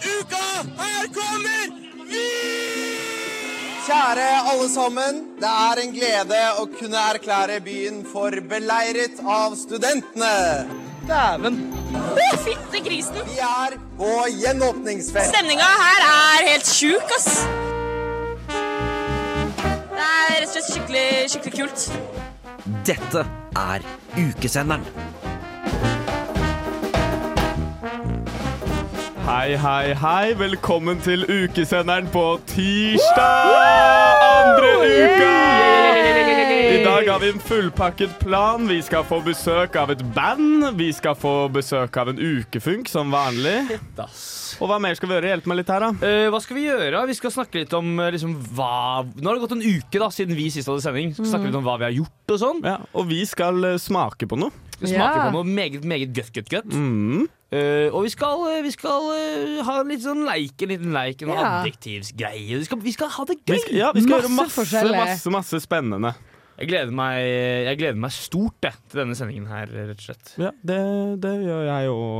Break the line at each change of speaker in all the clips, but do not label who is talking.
uka her kommer vi!
Kjære alle sammen. Det er en glede å kunne erklære byen for beleiret av studentene. Dæven.
Fytte grisen.
Vi er på gjenåpningsfest.
Stemninga her er helt sjuk, ass. Det er rett og slett skikkelig, skikkelig kult.
Dette er ukesenderen.
Hei, hei, hei. Velkommen til ukesenderen på tirsdag! Andre uka! I dag har vi en fullpakket plan. Vi skal få besøk av et band. Vi skal få besøk av en ukefunk som vanlig. Og hva mer skal vi gjøre? Hjelp meg litt her, da.
Eh, hva skal vi gjøre? Vi skal snakke litt om eh, liksom, hva Nå har det gått en uke da, siden vi sist hadde sending. Så Skal vi snakke litt om hva vi har gjort og sånn.
Mm. Ja, og vi skal eh, smake på noe.
Vi skal smake
Ja.
på noe meget, meget godt, godt, godt.
Mm.
Eh, og vi skal, eh, vi skal eh, ha en litt sånn leik, en liten leik, en
Ja.
adjektivsgreie. Vi skal, vi skal ha det gøy!
Vi skal, ja, vi skal
Masse
gjøre masse,
forskjellig.
masse, masse spennende.
Jeg, gleder meg, jeg gleder meg stort jeg, til denne sendingen her, rett og slett.
Ja, det, det gjør jeg òg.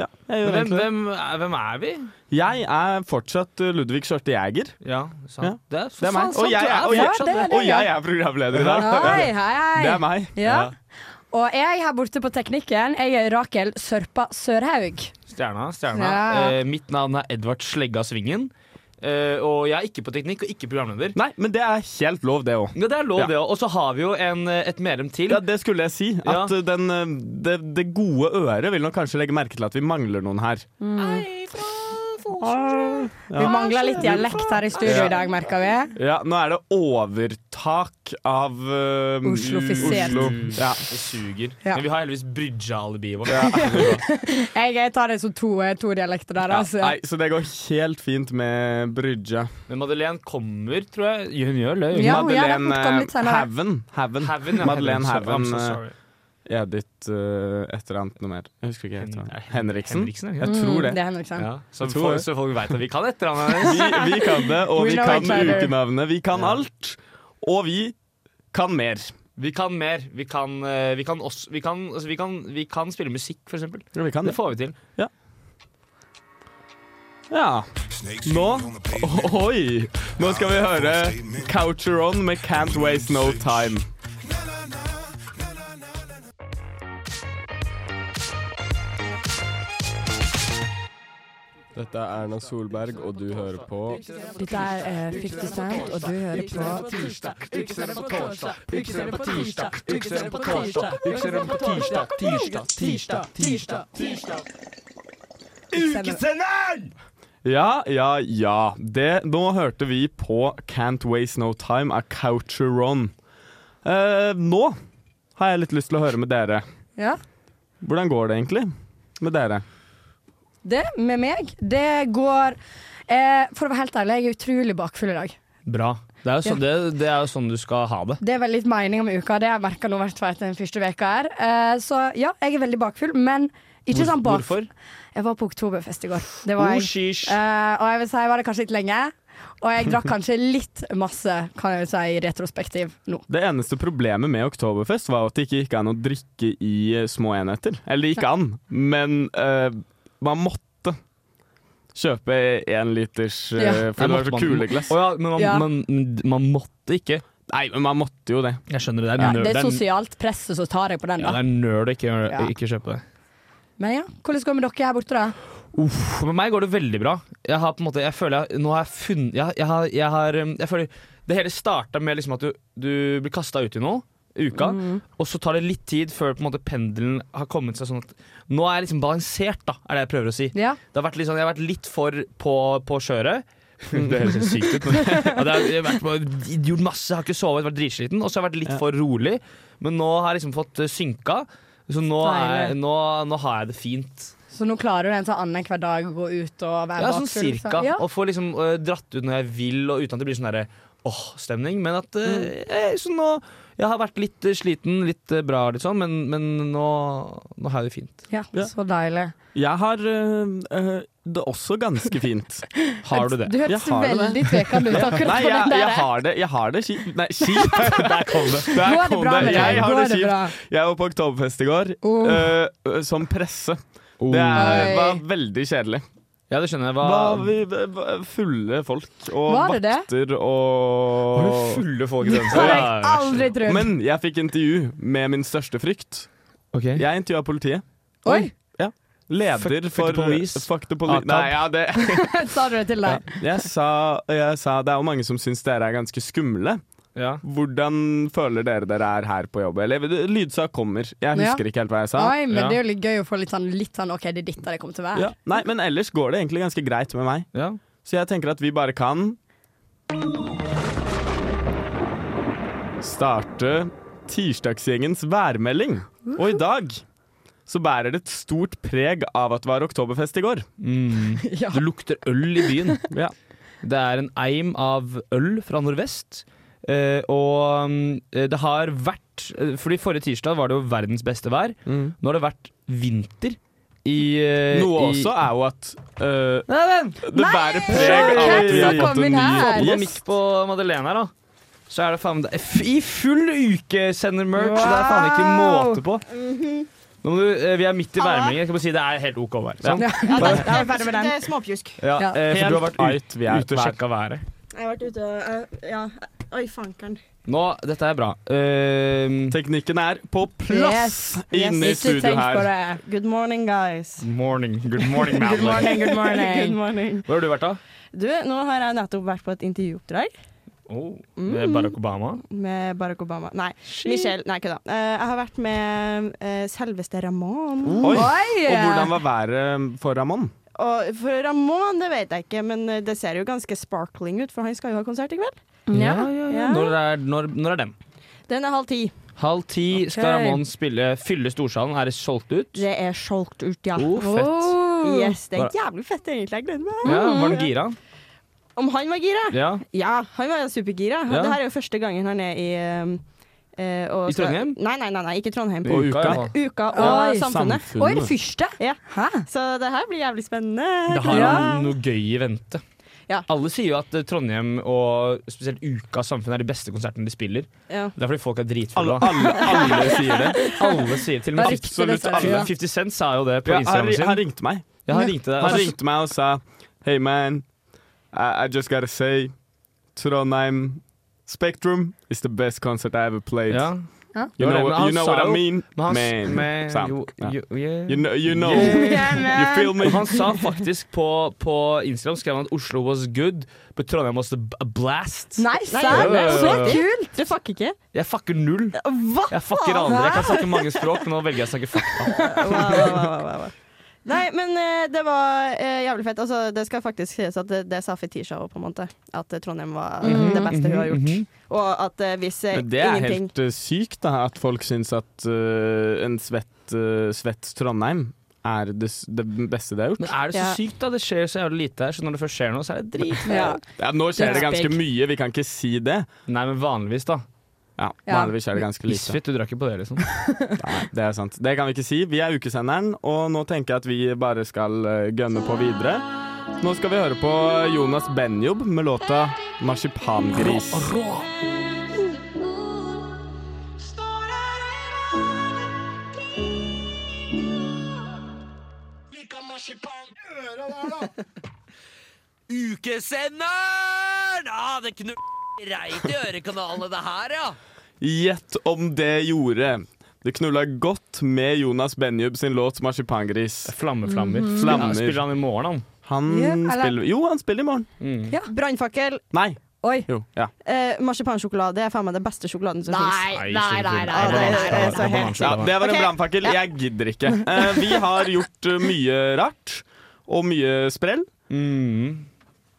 Ja, jeg gjør
Men hvem,
egentlig det.
hvem, er, hvem er vi?
Jeg er fortsatt eh, Ludvig Skjørte Jæger.
Ja, sant.
Ja.
Det er,
Det er meg.
Og jeg er,
og jeg,
fortsatt det.
og jeg er programleder i dag.
Hei, hei, hei.
Det er meg.
Ja. Og jeg her borte på teknikken, jeg er Rakel Sørpa Sørhaug.
Stjerna, stjerna.
Ja.
Eh, mitt navn er Edvard Slegga Svingen. Eh, og jeg er ikke på teknikk og ikke programleder.
Nei, men det er helt lov, det òg.
Ja, det er lov,
Ja.
det òg. Og så har vi jo en, eh, et medlem til.
Ja, det skulle jeg si. At
Ja.
eh, den, eh, det, det gode øret vil nok kanskje legge merke til at vi mangler noen her.
Vi mangler litt dialekt her i studio i dag, merker vi.
Ja, Nå er det overtak av eh,
Oslofisert.
Oslo. Ja.
Mm. Det suger.
Ja.
Men vi har heldigvis Brydja-alibiet vårt.
Jeg, jeg tar det som to, eh, to dialekter der, altså.
Nei, så det går helt fint med Brydja.
Men Madeleine kommer, tror jeg. Ja, Hun gjør det.
Ja, hun gjør det. Hun
Madeleine
kom litt
eh,
senere.
Haven. Haven.
Haven, ja.
Madeleine
Sorry, I'm
Haven.
so
eh,
sorry.
Edith uh, et eller annet noe mer. Jeg husker ikke. Hen
Er det Hen-
Henriksen.
Henriksen, er det
Jeg
ikke?
tror det.
Mm, Det er Henriksen.
Ja, så,
tror
folk,
det.
så folk vet at vi kan et eller annet.
Vi, vi kan det, og
We
vi
know
kan
each other.
ukenavnet. Vi kan alt. Og vi kan mer.
Vi kan mer. Vi kan, eh, vi kan, også, vi kan, altså, vi kan, vi kan spille musikk, for eksempel.
Ja, vi kan
Det får vi til.
Ja. Nå o- Oi! Nå skal vi høre Coucheron med Can't Waste No Time. Dette er Erna Solberg, og du hører på
Dette er eh, 50 Cent, og du hører på
Ja, ja, ja. Det, nå hørte vi på Can't Waste No Time av Coucheron. Eh, nå har jeg litt lyst til å høre med dere.
Ja.
Hvordan går det egentlig med dere?
Det med meg, det går eh, For å være helt ærlig, jeg er utrolig bakfull i dag.
Bra. Det er jo
sånn-
du skal ha det.
Det er vel litt meninga med uka, det har jeg merka nå hvert fall etter den første veka her. Eh, så ja, jeg er veldig bakfull, men ikke sånn bakfull.
Hvorfor? Oh,
Jeg var på oktoberfest i går. Det var jeg.
Oshish.
Eh, og jeg vil si jeg var det kanskje litt lenge. Og jeg drakk kanskje litt masse, kan jeg jo si, i retrospektiv nå.
Det eneste problemet med Oktoberfest var at det ikke gikk an å drikke i eh, små enheter. Eller det gikk an, men eh, man måtte kjøpe én liters eh,
Ja.
For det var så kule glass.
Å ja, men man,
Ja.
man, man måtte ikke.
Nei, men man måtte jo det.
Jeg skjønner det. Det
Ja,
er nøl.
det er
er-
sosialt press, så tar jeg på den,
Ja, det
da.
er nøl å ikke, gjøre-
Ja.
ikke kjøpe det.
Men ja, hvordan går det med dere her borte, da?
For med meg går det veldig bra. Jeg har på en måte, jeg føler jeg, nå har jeg funnet jeg, jeg, har, jeg, har, um, jeg føler Det hele starta med liksom at du, du blir kasta ut i noe. Uka, Og så tar det litt tid før på en måte, pendelen har kommet seg sånn at Nå er jeg liksom balansert, da, er det jeg prøver å si.
Ja.
Det har vært litt sånn, jeg har vært litt for på, på kjøret. Det høres helt sykt ut. men- Ja, det har, jeg har vært på, gjort masse, jeg har ikke sovet, vært dritsliten. Og så har jeg vært litt for rolig. Men nå har jeg liksom fått eh, synka. Så nå, er,
Deilig.
nå, nå har jeg det fint.
Så nå klarer du en sånn annenhver dag å gå ut og være
Ja, sånn
bakfull, liksom.
cirka.
Ja.
Å få liksom eh, dratt ut når jeg vil, og uten at det blir sånn derre åh-stemning. Men at eh, eh, Så nå Jeg har vært litt eh, sliten, litt eh, bra, litt sånn, men, men nå, nå har jeg det fint.
Ja, så deilig.
Jeg har eh, eh, det også ganske fint.
Har du det?
Du hørtes
Jeg har det.
veldig tvekende ut akkurat
Nei,
på
jeg,
den
jeg
der.
har det, jeg har det kjipt. Nei, kjipt! Der kom det. Der
Går det
kom
bra med deg?
Jeg har
Går
det
det bra?
kjipt. Jeg var på Oktoberfest i går
Oh.
eh, som presse. Det er,
Oi.
var veldig kjedelig.
Ja, det skjønner jeg. Hva,
Hva, vi, hva- fulle folk og
Var det det?
vakter og
Var det fulle folk i den
Det har
serien?
jeg aldri trodd.
Men jeg fikk intervju med min største frykt.
Ok.
Jeg intervjua politiet.
Oi,
Leder
Fuck- fuck
for
the police.
Fuck the police.
Ah,
Nei, ja, det
sa du det til
ja.
deg?
Jeg, sa, jeg sa det er jo mange som syns dere er ganske skumle.
Ja.
Hvordan føler dere dere er her på jobb? Eller lydsak kommer. Jeg
Ja.
husker ikke helt hva jeg sa.
Oi, men
Ja.
det er jo litt gøy å få litt sånn, litt sånn OK, det er dette det kommer til å være.
Ja. Nei, men ellers går det egentlig ganske greit med meg.
ja.
Så jeg tenker at vi bare kan Starte tirsdagsgjengens værmelding. Og i dag så bærer det et stort preg av at det var oktoberfest i går.
Ja.
Det lukter øl i byen.
Ja.
Det er en eim av øl fra nordvest. Eh, og mm, det har vært eh, Fordi forrige tirsdag var det jo verdens beste vær. Nå har det vært vinter i eh,
Noe
i,
også er jo at øh,
Nei, vent!
det bærer preg av at vi har
Hvem som
fått
kom
en
inn
ny
her?
På
gjest.
midt på Madeleine her, da. Så er det faen det er f- I full ukesender-merch! Det er faen ikke måte på.
Mhm.
Nå må du, eh, vi er midt i værmeldingen. Jeg skal bare si Det er helt OK vær. sant?
Ja.
Ja, det, det,
er ferdig med den.
det er småpjusk.
Ja,
Ja.
eh, for du har vært
Helt
ut,
vi er
ute og
hver-
sjekka været.
Jeg har vært ute og eh, Ja. Oi, fankeren.
Nå, dette er bra. Eh,
Ehm, Teknikken er på plass
Yes,
inne i
Ikke
studio
tenk på
her.
det.
Good morning, guys.
morning. Good morning,
Good morning, good
Good
morning.
morning.
Hvor har du vært, da?
Du, nå har jeg nettopp vært på et intervjuoppdrag Mm.
Oh,
Mm.
det er Barack Obama.
med Barack Obama. Nei, Michelle. Nei, kødda. Eh, jeg har vært med eh, selveste Ramón.
Oi.
Oi!
Og hvordan var været for Ramón?
Og for Ramón, det vet jeg ikke, men eh, det ser jo ganske sparkling ut, for han skal jo ha konsert i kveld.
Mm.
Ja, ja, ja.
Ja.
Når, er, når, når er den?
Den er halv ti.
Halv ti skal
Ok.
Ramón spille Fylle Storsalen. Er det solgt ut?
Det er solgt ut, ja.
Oh, fett.
Oh.
Yes, det er jævlig fett, egentlig. Jeg gleder meg.
Ja, var den gira?
Om han var gira?
Ja.
Ja, han var jo supergira.
Ja.
Det her er jo første gangen han er i eh, og
I Trondheim?
Nei, nei, nei, nei, ikke Trondheim.
På uka.
ja.
Uka og
Oi,
Samfunnet.
Oi, det første?
Ja.
Hæ?
Så det her blir jævlig
Det
spennende.
har
Ja.
han noe gøy i vente.
Ja.
Alle sier jo at eh, Trondheim og spesielt Uka Samfunn er de beste konsertene de spiller.
Ja.
Det er fordi folk er
Alle,
dritfulle. da.
alle, alle sier det.
Alle sier til og med
Det er riktig, det
Absolutt
ser
alle.
jeg.
50 Cent sa jo det på
Ja, han,
Instagram sin.
han ringte meg.
Ja, han ringte deg.
Han
Altså,
ringte meg og sa Hey man, I, I just gotta say Trondheim Spectrum is the best concert I ever played.
ja.
You
Jo,
know,
det- men
what-
han
you know
sa
what I
jo-
mean?
Men han, s-
man.
men,
sa han.
jo,
Ja.
jo, yeah.
You know, you, know you feel me?
Og han sa faktisk på, på Instagram skrev han at Oslo was good, but Trondheim was a b- a blast.
Nei,
ja,
serr?
ja, ja.
Så kult!
Du fucker ikke?
Jeg fucker null.
Hva?
Jeg fucker aldri. Jeg kan snakke mange språk, men nå velger jeg å snakke fakta.
Wow, wow, wow, wow, wow. Nei, men eh, det var eh, jævlig fett. Altså, det skal faktisk sies at det, det sa Fetisha òg, på en måte. At eh, Trondheim var eh, det beste hun har gjort. Og at eh, hvis eh,
Mhm, Men det er
ingenting
helt eh, sykt da, at folk syns at eh, en svett, eh, svett Trondheim er det, s- det beste de har
Men
gjort.
er det så
Ja.
sykt, da? Det skjer så jævlig lite her, så når det først skjer noe, så er det drit.
Ja.
Ja, nå skjer det ganske
Respekt.
mye, vi kan ikke si det.
Nei, men vanligvis, da.
Ja,
Ja.
Vanligvis skjer det ganske lite.
Isfit, du drar ikke på det, liksom.
Nei, det er sant. Det kan vi ikke si. Vi er ukesenderen, og nå tenker jeg at vi bare skal eh, gønne på videre. Nå skal vi høre på Jonas Benjob med låta 'Marsipangris'.
Ukesenderen! Ah, det knu... Reit i ørekanalene det her, ja.
Gjett om det gjorde. Det knulla godt med Jonas Benjob sin låt 'Marsipangris'. Mhm.
Flammeflammer.
Flammer.
Spiller han i morgen, han?
Han
Mm.
Ja, eller-
spiller Jo, han spiller i morgen.
Brannfakkel,
Nei.
Oi.
Jo. Ja.
eh, marsipansjokolade er faen meg den beste sjokoladen som fins.
Nei, nei,
Ja,
nei.
det er- det er så helt-
ja det var en
Ok.
brannfakkel. Jeg gidder ikke. Eh, vi har gjort eh, mye rart, og mye sprell.
Mm.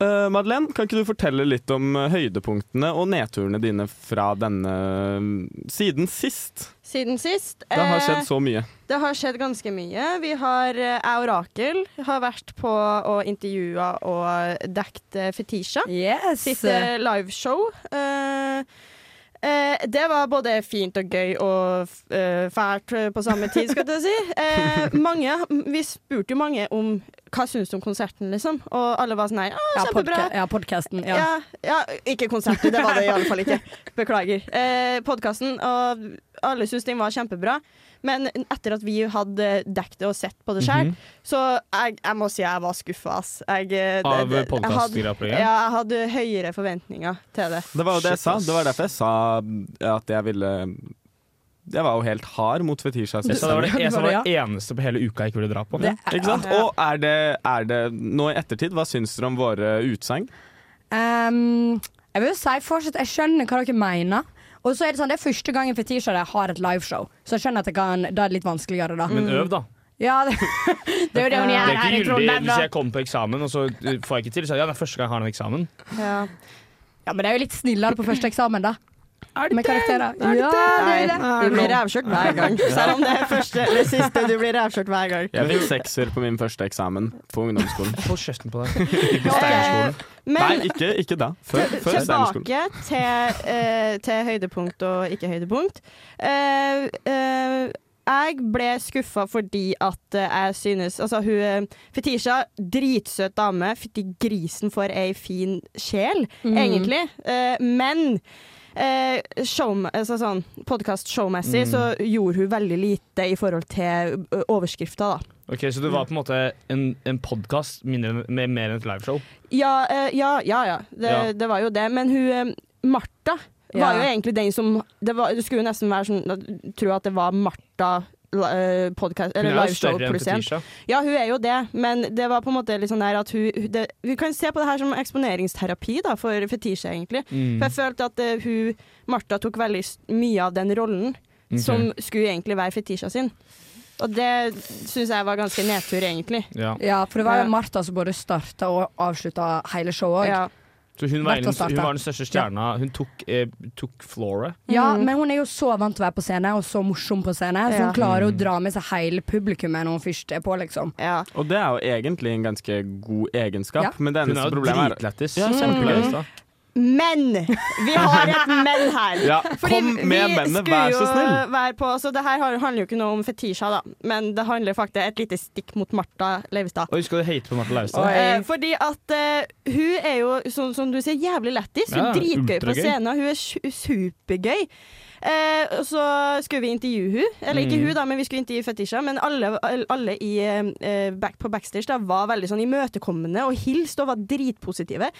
Eh, Madeleine, kan ikke du fortelle litt om eh, høydepunktene og nedturene dine fra denne mm, siden sist?
Siden sist.
Det har
eh,
skjedd så mye.
Det har skjedd ganske mye. Vi har, eh, Jeg og Rakel har vært på og intervjua og dekt eh, Fetisha.
Yes.
Sitt eh, liveshow. Eh, eh, det var både fint og gøy og f- eh, fælt eh, på samme tid, skal jeg til å si. Eh, mange, vi spurte jo mange om hva syns du om konserten, liksom? Og alle var sånn her, å,
Ja,
kjempebra.
podka ja podkasten.
Ja.
Ja.
ja, ikke konserten, det var det i alle fall ikke. Beklager. Eh, Podkasten, og alle syntes den var kjempebra. Men etter at vi hadde dekket det og sett på det sjøl, så jeg, jeg må si jeg var skuffa, ass. Jeg, eh,
Av
det- det- jeg hadde-
podcastgreier?
Ja, jeg hadde høyere forventninger til det.
Det var jo det jeg sa. Det var derfor jeg sa eh, at jeg ville Jeg var jo helt hard mot Fetisha.
Jeg sa det var det, jeg sa det
Ja.
var det eneste på hele uka jeg ikke ville dra på.
Det er-
Ikke sant? Og er det, er det nå i ettertid, hva syns dere om våre utsagn?
Ehm, jeg vil jo si fortsatt Jeg skjønner hva dere mener. Og så er Det sånn, det er første gangen Fetisha og jeg har et liveshow, så jeg skjønner at det, kan, da er det litt vanskeligere. da
Men øv, da.
Ja, det, det er jo Mm. det hun
Det er
gjør her i
ikke gyldig
Trondheim.
hvis
da.
jeg kommer på eksamen og så eh, får jeg ikke til. Så er det, ja, det er første gang jeg har en eksamen.
Ja.
Ja, Men det er jo litt snillere på første eksamen, da. Med karakterer. Ja, det
Nei,
er det.
du blir rævkjørt hver gang. Selv om det er første eller siste, du blir rævkjørt hver gang.
Jeg fikk sekser på min første eksamen på ungdomsskolen.
Hold kjeften på deg.
Eh,
Nei,
Men
ikke, ikke da. Før, før Steinerskolen.
tilbake til, eh, til høydepunkt og ikke høydepunkt. Eh, eh, jeg ble skuffa fordi at eh, jeg synes Altså, hun eh, Fetisha, dritsøt dame. Fytti grisen for ei fin sjel, egentlig. Eh, men Eh, show, altså sånn, podcast
Mm.
showmessig så gjorde hun veldig lite i forhold til eh, overskrifta, da.
Ok, Så det
Mm.
var på en måte en, en podkast med mer enn et liveshow?
Ja, eh, ja, ja. ja. Det,
Ja.
det var jo det. Men hun eh, Martha var
Ja.
jo egentlig den som det, var, det skulle jo nesten være sånn Tro at det var Martha eh, podcast,
Hun
eller
er jo
liveshow
større enn
pluss én.
Fetisha.
Ja, hun er jo det, men det var på en måte litt sånn der at hun hun- det, Vi kan se på det her som eksponeringsterapi da, for fetisje, egentlig.
Mm.
For jeg følte at eh, hun Martha tok veldig s- mye av den rollen som skulle egentlig være fetisja sin. Og det syns jeg var ganske nedtur, egentlig.
Ja.
Ja, for det var
Ja.
jo Martha som både starta og avslutta hele showet.
Ja.
Så hun var,
Vært å
den,
starte.
hun var den største stjerna. Hun tok, eh, tok flora.
Ja, men hun er jo så vant til å være på scene, og så morsom på scene, så hun
Mm. Ja.
klarer
Mm.
å dra med seg hele publikummet når hun først er på, liksom.
ja.
Og det er jo egentlig en ganske god egenskap,
Ja.
men det
Hun
eneste
er jo
problemet er
dritlættis.
Mm.
Ja, kjempelættis, da.
Men! Vi har et men her.
Ja,
Fordi
kom med
vi
mennene,
skulle
vær
jo
så snill!
Være på, så det her har- handler jo ikke noe om fetisja, da. Men det handler faktisk et lite stikk mot Martha Leivestad.
Oi, skal du hate på Marte Laustad?
Eh, fordi at eh, hun er jo, sånn som du sier, jævlig lættis. Hun
Ja,
er dritgøy på
ultragøy.
scenen. Hun er su- supergøy. Eh, og så skulle vi intervjue hun Eller ikke
Mm.
hun, da, men vi skulle intervjue Fetisha. Men alle, alle i, eh, back, på backstage da, var veldig sånn imøtekommende og hilste og var dritpositive.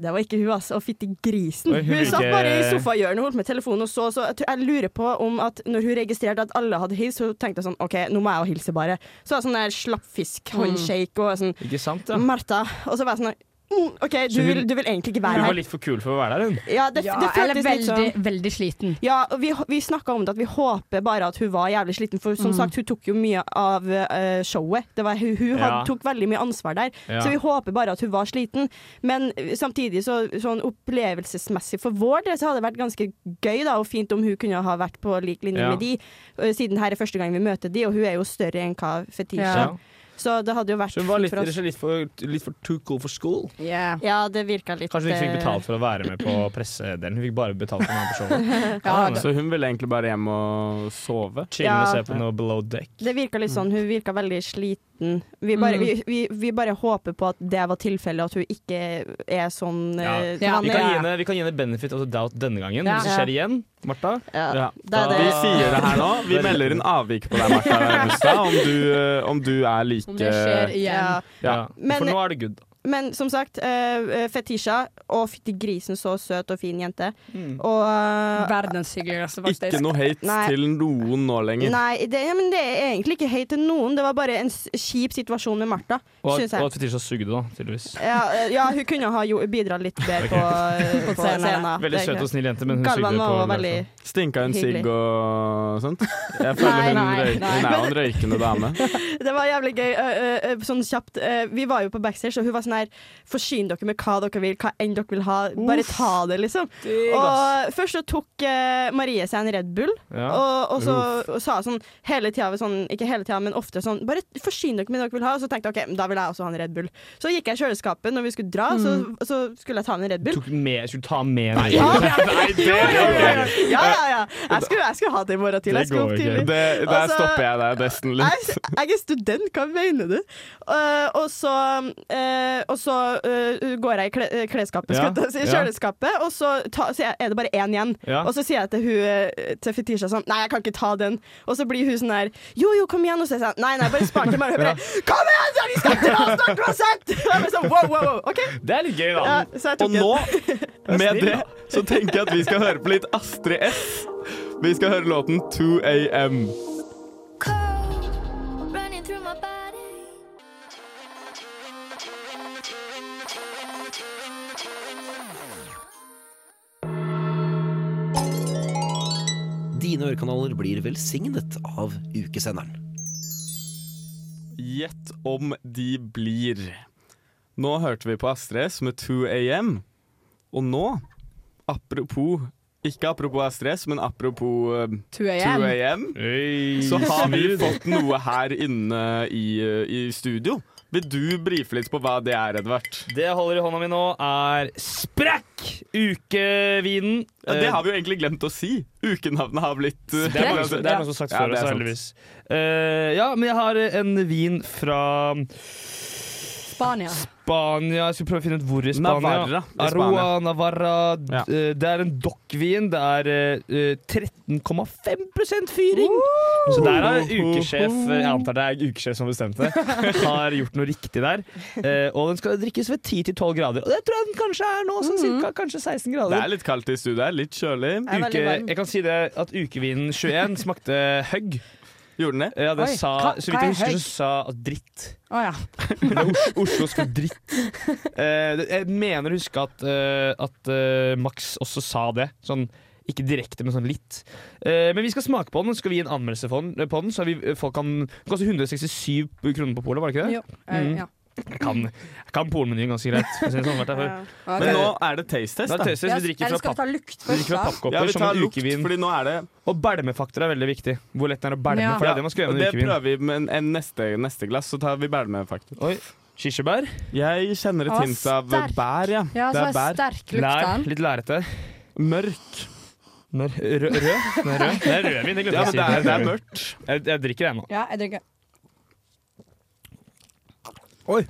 Det var ikke hun, altså. Og fytti grisen.
Oi, hun
hun
vil
satt
ikke-
bare i sofahjørnet og holdt med telefonen og så, så jeg, tror, jeg lurer på om at når hun registrerte at alle hadde hilst, så tenkte hun sånn OK, nå må jeg jo hilse, bare. Så var det sånn der slappfisk-håndshake og sånn
Ikke sant, ja?
Martha. Og så var jeg sånn mm, OK, du
hun-
vil, du vil egentlig ikke
Hun
være
var
her.
litt for kul for å være der, hun.
Ja, det,
Ja,
det
eller
føltes litt
veldig,
sånn.
veldig sliten.
Ja, og vi, vi snakka om det at vi håper bare at hun var jævlig sliten, for
Mm.
som sagt, hun tok jo mye av eh, showet. Det var, hun hun hadde,
Ja.
tok veldig mye ansvar der,
Ja.
så vi håper bare at hun var sliten. Men eh, samtidig, så, sånn opplevelsesmessig for vår del, så hadde det vært ganske gøy da, og fint om hun kunne ha vært på lik linje
Ja.
med de, eh, siden her er første gang vi møter de, og hun er jo større enn hva Fetisha
Ja.
Ja.
Så det hadde jo vært
Så hun var
fint
litt,
for oss.
kanskje litt, for, litt for too cool for school.
Ja, det virka litt
Kanskje hun ikke fikk
eh,
betalt for å være med på pressedelen. Hun fikk bare betalt for å være med på showet.
Ja,
det.
Så hun ville egentlig bare hjem og sove.
Chille
Ja.
og se på noe below deck.
Det virka litt
Mm.
sånn, hun virka veldig sliten. Vi bare, vi, vi, vi bare håper på at det var tilfellet, at hun ikke er sånn
Ja.
eh,
Ja.
Vi
vanlig.
kan gi henne, vi kan gi henne benefit of the doubt denne gangen.
Ja.
Hvis det skjer igjen, Martha
Ja.
Ja.
Det er det.
Vi sier det her nå. Vi melder inn avvik på deg, Martha Leivestad, om,
eh,
du- om du er like
Om det skjer igjen.
Ja.
ja.
Ja.
Men-
For nå er det good.
Men som sagt, eh, Fetisha Å, fytti grisen, så søt og fin jente. Og eh,
Mm. Verdens hyggeligste, faktisk.
Ikke noe hate
Nei.
til noen nå lenger.
Nei, det, ja, men det er egentlig ikke hate til noen. Det var bare en s- kjip situasjon med Martha,
Og,
syns
og
jeg.
at Fetisha sugde, da, tydeligvis.
Ja, eh, ja, hun kunne ha jo- bidratt litt bedre på, eh, på
scenen.
scenen.
Veldig
Det er
søt og
ikke-
snill jente, men hun
Galvan
sugde
var
på
også veldig
Stinka hun sigg
Hyggelig.
og sånt? Jeg
Nei,
føler hun,
nei,
røyk,
nei.
hun er jo en røykende dame.
Eh, Det eh, var jævlig gøy. ø, ø, ø, sånn kjapt. ø, vi var jo på backstage, og hun var sånn her Forsyn dere med hva dere vil, hva enn dere vil ha. Bare ta det, liksom. Og først så tok eh, Marie seg en Red Bull,
Ja.
og, og så og sa sånn hele tida sånn, Ikke hele tida, men ofte sånn Bare forsyn dere med det dere vil ha. Og så tenkte jeg OK, men da vil jeg også ha en Red Bull. Så gikk jeg i kjøleskapet når vi skulle dra, så, så skulle jeg ta en Red Bull.
Tok med, skulle ta med en
Ja, ja,
Nei, det går ikke.
ja,
Eh,
ja. Jeg, skulle, jeg skulle ha det i morgen til.
Det
Jeg skulle
går
opp
ikke.
tidlig. Altså,
Det, der
Og så-
stopper jeg deg nesten
Jeg,
litt.
jeg er student, hva mener du? Eh, og så, eh, og så eh, går jeg i kle, eh, klesskapet,
Ja,
skulle jeg til å si,
ja.
kjøleskapet, og så, ta, så er det bare én igjen.
Ja.
Og så sier jeg til, hun, eh, til Fetisha sånn Nei, jeg kan ikke ta den. Og så blir hun sånn der Jo, jo, kom igjen. Og så sier jeg sånn Nei, nei, bare spar til meg. Og hun bare Kom igjen, så vi skal dra snart uansett! Og jeg bare sånn wow, wow, wow. OK.
Det er litt gøy, da.
Ja, så jeg
og
tok en.
nå, med det, så tenker jeg at vi skal høre på litt Astrid S. Vi skal høre låten 2 AM.
Dine ørekanaler blir velsignet av ukesenderen.
Gjett om de blir. Nå hørte vi på Astrid S med 2 AM. Og nå, apropos Ikke apropos Astrid S, men apropos eh,
2
2
AM.
AM, så har vi fått noe her inne i, eh, i studio. Vil du brife litt på hva det er, Edvard?
Det jeg holder i hånda mi nå, er Sprekk! Ukevinen.
Ja, det har vi jo egentlig glemt å si. Ukenavnet har blitt eh,
Det er noe som det er noe som har sagt
Ja,
før
det er
oss,
sant.
heldigvis. Eh, ja, men jeg har en vin fra
Spania.
Spania. Jeg skulle prøve å finne ut hvor i Spania.
Navarra i Spania.
Aroa, Navarra. d-
Ja.
eh, Det er en dokkvin. Det er eh, eh, 13,5 fyring! Så der har ukesjef eh, Jeg antar det er ukesjef som bestemte det. Har gjort noe riktig der. Eh, Og den skal drikkes ved 10-12 grader. Og det tror jeg den kanskje er nå,
Mhm.
sånn cirka. Kanskje 16
Det
grader.
er litt kaldt i studio her. Litt kjølig.
Jeg er veldig
Uke,
varm.
jeg kan si det at ukevinen 21 smakte høgg.
Gjorde den det?
Ja, det
Oi,
sa,
hva-
så
hva
vidt
er
jeg husker,
høgg?
så sa at dritt.
Å ja.
Oslos for dritt. Eh, det- jeg mener å huske at, eh, at eh, Max også sa det. Sånn, ikke direkte, men sånn litt. Eh, men vi skal smake på den, så skal vi gi en anmeldelse for den- på den. Så vi, eh, folk kan, den koster 167 kroner på polet, var det ikke det?
Jo. eh, ja.
Jeg kan, jeg kan polmenyen ganske greit. for å si det sånn, vært der før.
Ja.
Ok.
Men nå er det taste
Da
test, da.
er det tøyser, vi drikker
Eller
fra
skal vi
papp.
ta lukt
Vi drikker fra
først, da?
Ja,
pappkopper
vi
som
tar
en
lukt,
ukevin.
fordi nå er det
Og belmefaktor er veldig viktig. Hvor lett den er å belme.
Ja.
For det er det man skal
Ja,
gjøre
og
med
det
en ukevin.
prøver vi med en- en neste, neste glass, så tar vi bælme, faktisk.
Oi, Kirsebær.
Jeg kjenner et
Å,
hint av
sterk.
bær, ja.
Ja,
det
så
er bær.
sterk
Lær,
lukt
litt lærete.
Mørk.
Rød? Rød? Den er rød. Det er rødvin. Det
Ja, men
glemte
det er, det er mørkt.
Jeg, jeg drikker den nå.
Ja, jeg drikker.
Oi.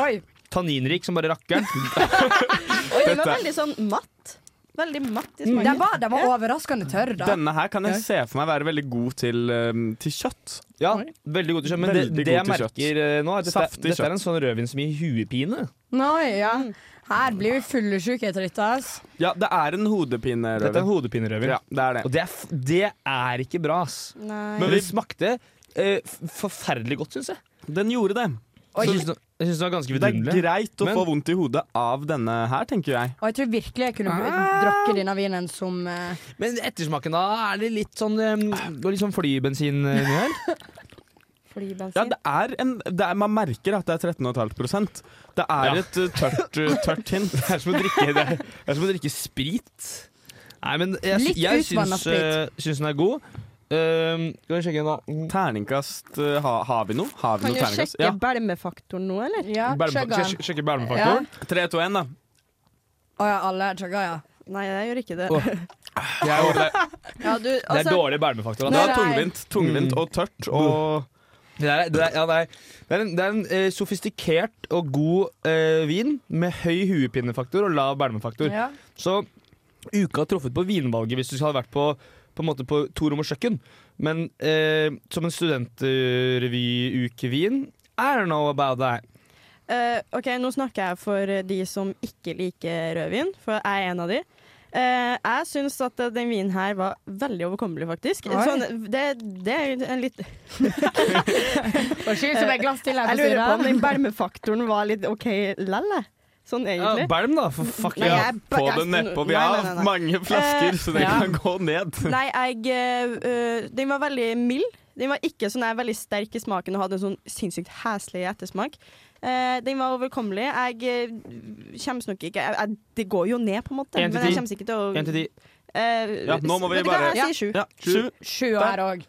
Oi.
Tanninrik som bare rakkeren.
Oi, den var veldig sånn matt. Veldig matt i
Den
smaken.
Mm, var, den var overraskende tørr, da.
Denne her kan jeg se for meg være veldig god til, um, til kjøtt.
Ja, veldig god til kjøtt. Men det,
Veldig
det jeg
god til kjøtt.
merker eh, nå, er at dette,
Saftig
dette
kjøtt.
er en sånn rødvin som gir huepine.
Nei, ja.
Mm.
Her blir vi fullesjuke etter dette. ass.
Ja, det er en hodepine,
Dette er en
Røven.
hodepinerødvin.
Ja, det er det.
Og det er, f- det er ikke bra, ass.
Nei.
Men det smakte eh, f- forferdelig godt, syns jeg.
Den gjorde det.
Så Jeg syns den jeg syns den var ganske
Det er
vidunderlig.
greit å
Men-
få vondt i hodet av denne her, tenker jeg.
Og jeg tror virkelig jeg kunne ah. drukket denne vinen som eh,
Men ettersmaken, da er det litt sånn eh, går litt sånn flybensin eh, inni her.
Ja, det er en, det er, Man merker at det er 13,5 Det er
Ja.
et uh, tørt, uh, tørt hint.
Det er som å drikke, det er, det er som å drikke sprit. Nei, men jeg,
Litt
jeg
utvannet
syns, eh, syns den er god. Um, skal vi sjekke igjen, da.
Terningkast uh, ha, Har vi noe? Har vi
Kan
noe
du
terningkast?
sjekke
Ja.
belmefaktoren nå, eller?
Ja,
Belme-
chugga
skal
den.
jeg sjekke belmefaktoren?
3, 2, 1, da.
Å ja, alle chugga, ja.
Nei, jeg gjør ikke det.
Jeg gjorde det.
Ja, du,
Det
altså,
er dårlig belmefaktor.
Det
Altså.
var tungvint, tungvint og tørt og
Det er, det er, ja, det er, det er en, det er en eh, sofistikert og god eh, vin med høy huepinefaktor og lav belmefaktor.
ja.
Så uka har truffet på vinvalget hvis du hadde vært på, på, en måte på to rom og kjøkken. Men eh, som en studentrevyukevin I don't know about that.
eh, ok, Nå snakker jeg for de som ikke liker rødvin, for jeg er en av de. Eh, jeg syns at den vinen her var veldig overkommelig, faktisk.
Oi.
Sånn, det, det er en litt
Og skyld som et glass til her
Jeg
på
lurer på om
siden.
den belmefaktoren var litt OK lell, jeg. Sånn
Ja,
egentlig.
Belm, da, for fuck
Nei,
ja.
jeg-
På det nedpå. Vi
Nei,
har
nei, nei,
hatt
nei.
mange flasker,
Eh,
så det
ja.
kan gå ned.
Nei, jeg eh, øh, Den var veldig mild. Den var ikke sånn, jeg er veldig sterk i smaken og hadde en sånn sinnssykt heslig ettersmak. Eh, den var overkommelig. Jeg eh, kommer nok ikke jeg, jeg, Det går jo ned, på en måte.
En til
Men jeg
ti.
kommer ikke til å
Én til ti.
Eh,
Ja, nå må vi
vet du hva?
bare-
Jeg sier sju.
Ja, sju.
Sju her òg.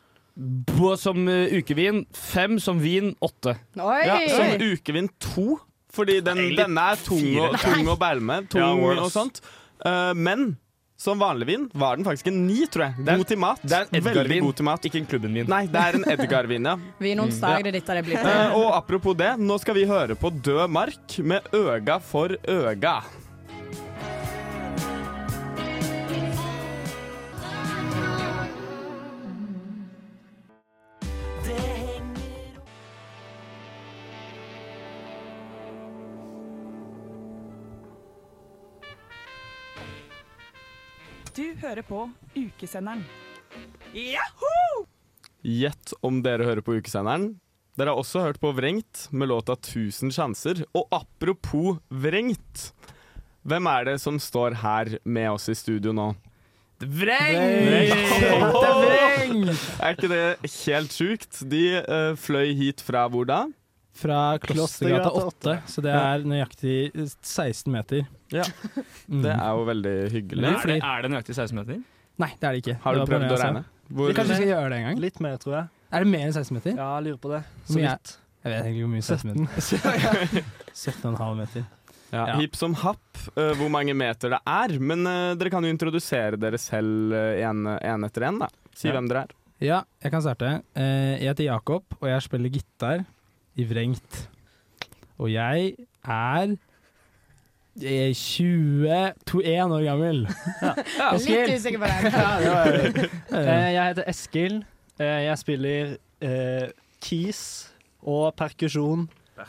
På, som eh, ukevin fem, som vin åtte.
Oi!
Ja, som
Oi.
ukevin to. Fordi den,
Egentlig
denne er tung,
fire.
og, tung å bære med. Tung
Ja, worse.
og sånt. Eh, men som vanlig vin var den faktisk en ni, tror jeg.
er-
God til mat.
det er en Edgar-vin.
Veldig god til mat.
Ikke en klubben Mm. min.
Nei, det er en Edgar-vin, ja.
Vinonsdag, det er ditt av det blir til.
sånn.
Eh, og apropos det, nå skal vi høre på Død mark med Øga for øga.
Du hører på Ukesenderen.
Gjett om dere hører på ukesenderen. Dere har også hørt på Vrengt med låta 1000 sjanser. Og apropos Vrengt, hvem er det som står her med oss i studio nå? Vrengt! Er ikke det helt sjukt? De eh, fløy hit fra hvor da?
Fra Klostergata 8, så det er nøyaktig 16 meter.
Ja.
Mm.
Det er jo veldig hyggelig.
Er det, er det nøyaktig 16 meter?
Nei, det er det ikke.
Har
Det
du
var bare
prøvd å
det jeg sa.
regne? Hvor,
Vi kanskje skal gjøre det en gang?
altså. Litt mer, tror jeg.
Er det mer enn 16 meter?
Ja, jeg lurer på det.
Så vidt. Jeg vet egentlig hvor mye 16 meter 17,5 meter.
ja.
Ja.
Hipp som happ eh, hvor mange meter det er. Men eh, dere kan jo introdusere dere selv eh, en, en etter en, da. Si
Ja.
hvem dere er.
Ja, jeg kan starte. Eh, Jeg heter Jakob, og jeg spiller gitar i Vrengt. Og jeg er eh, 20 21 år gammel.
Litt usikker på det.
Eh,
Jeg heter Eskil. Eh, Jeg spiller eh, keys og perkusjon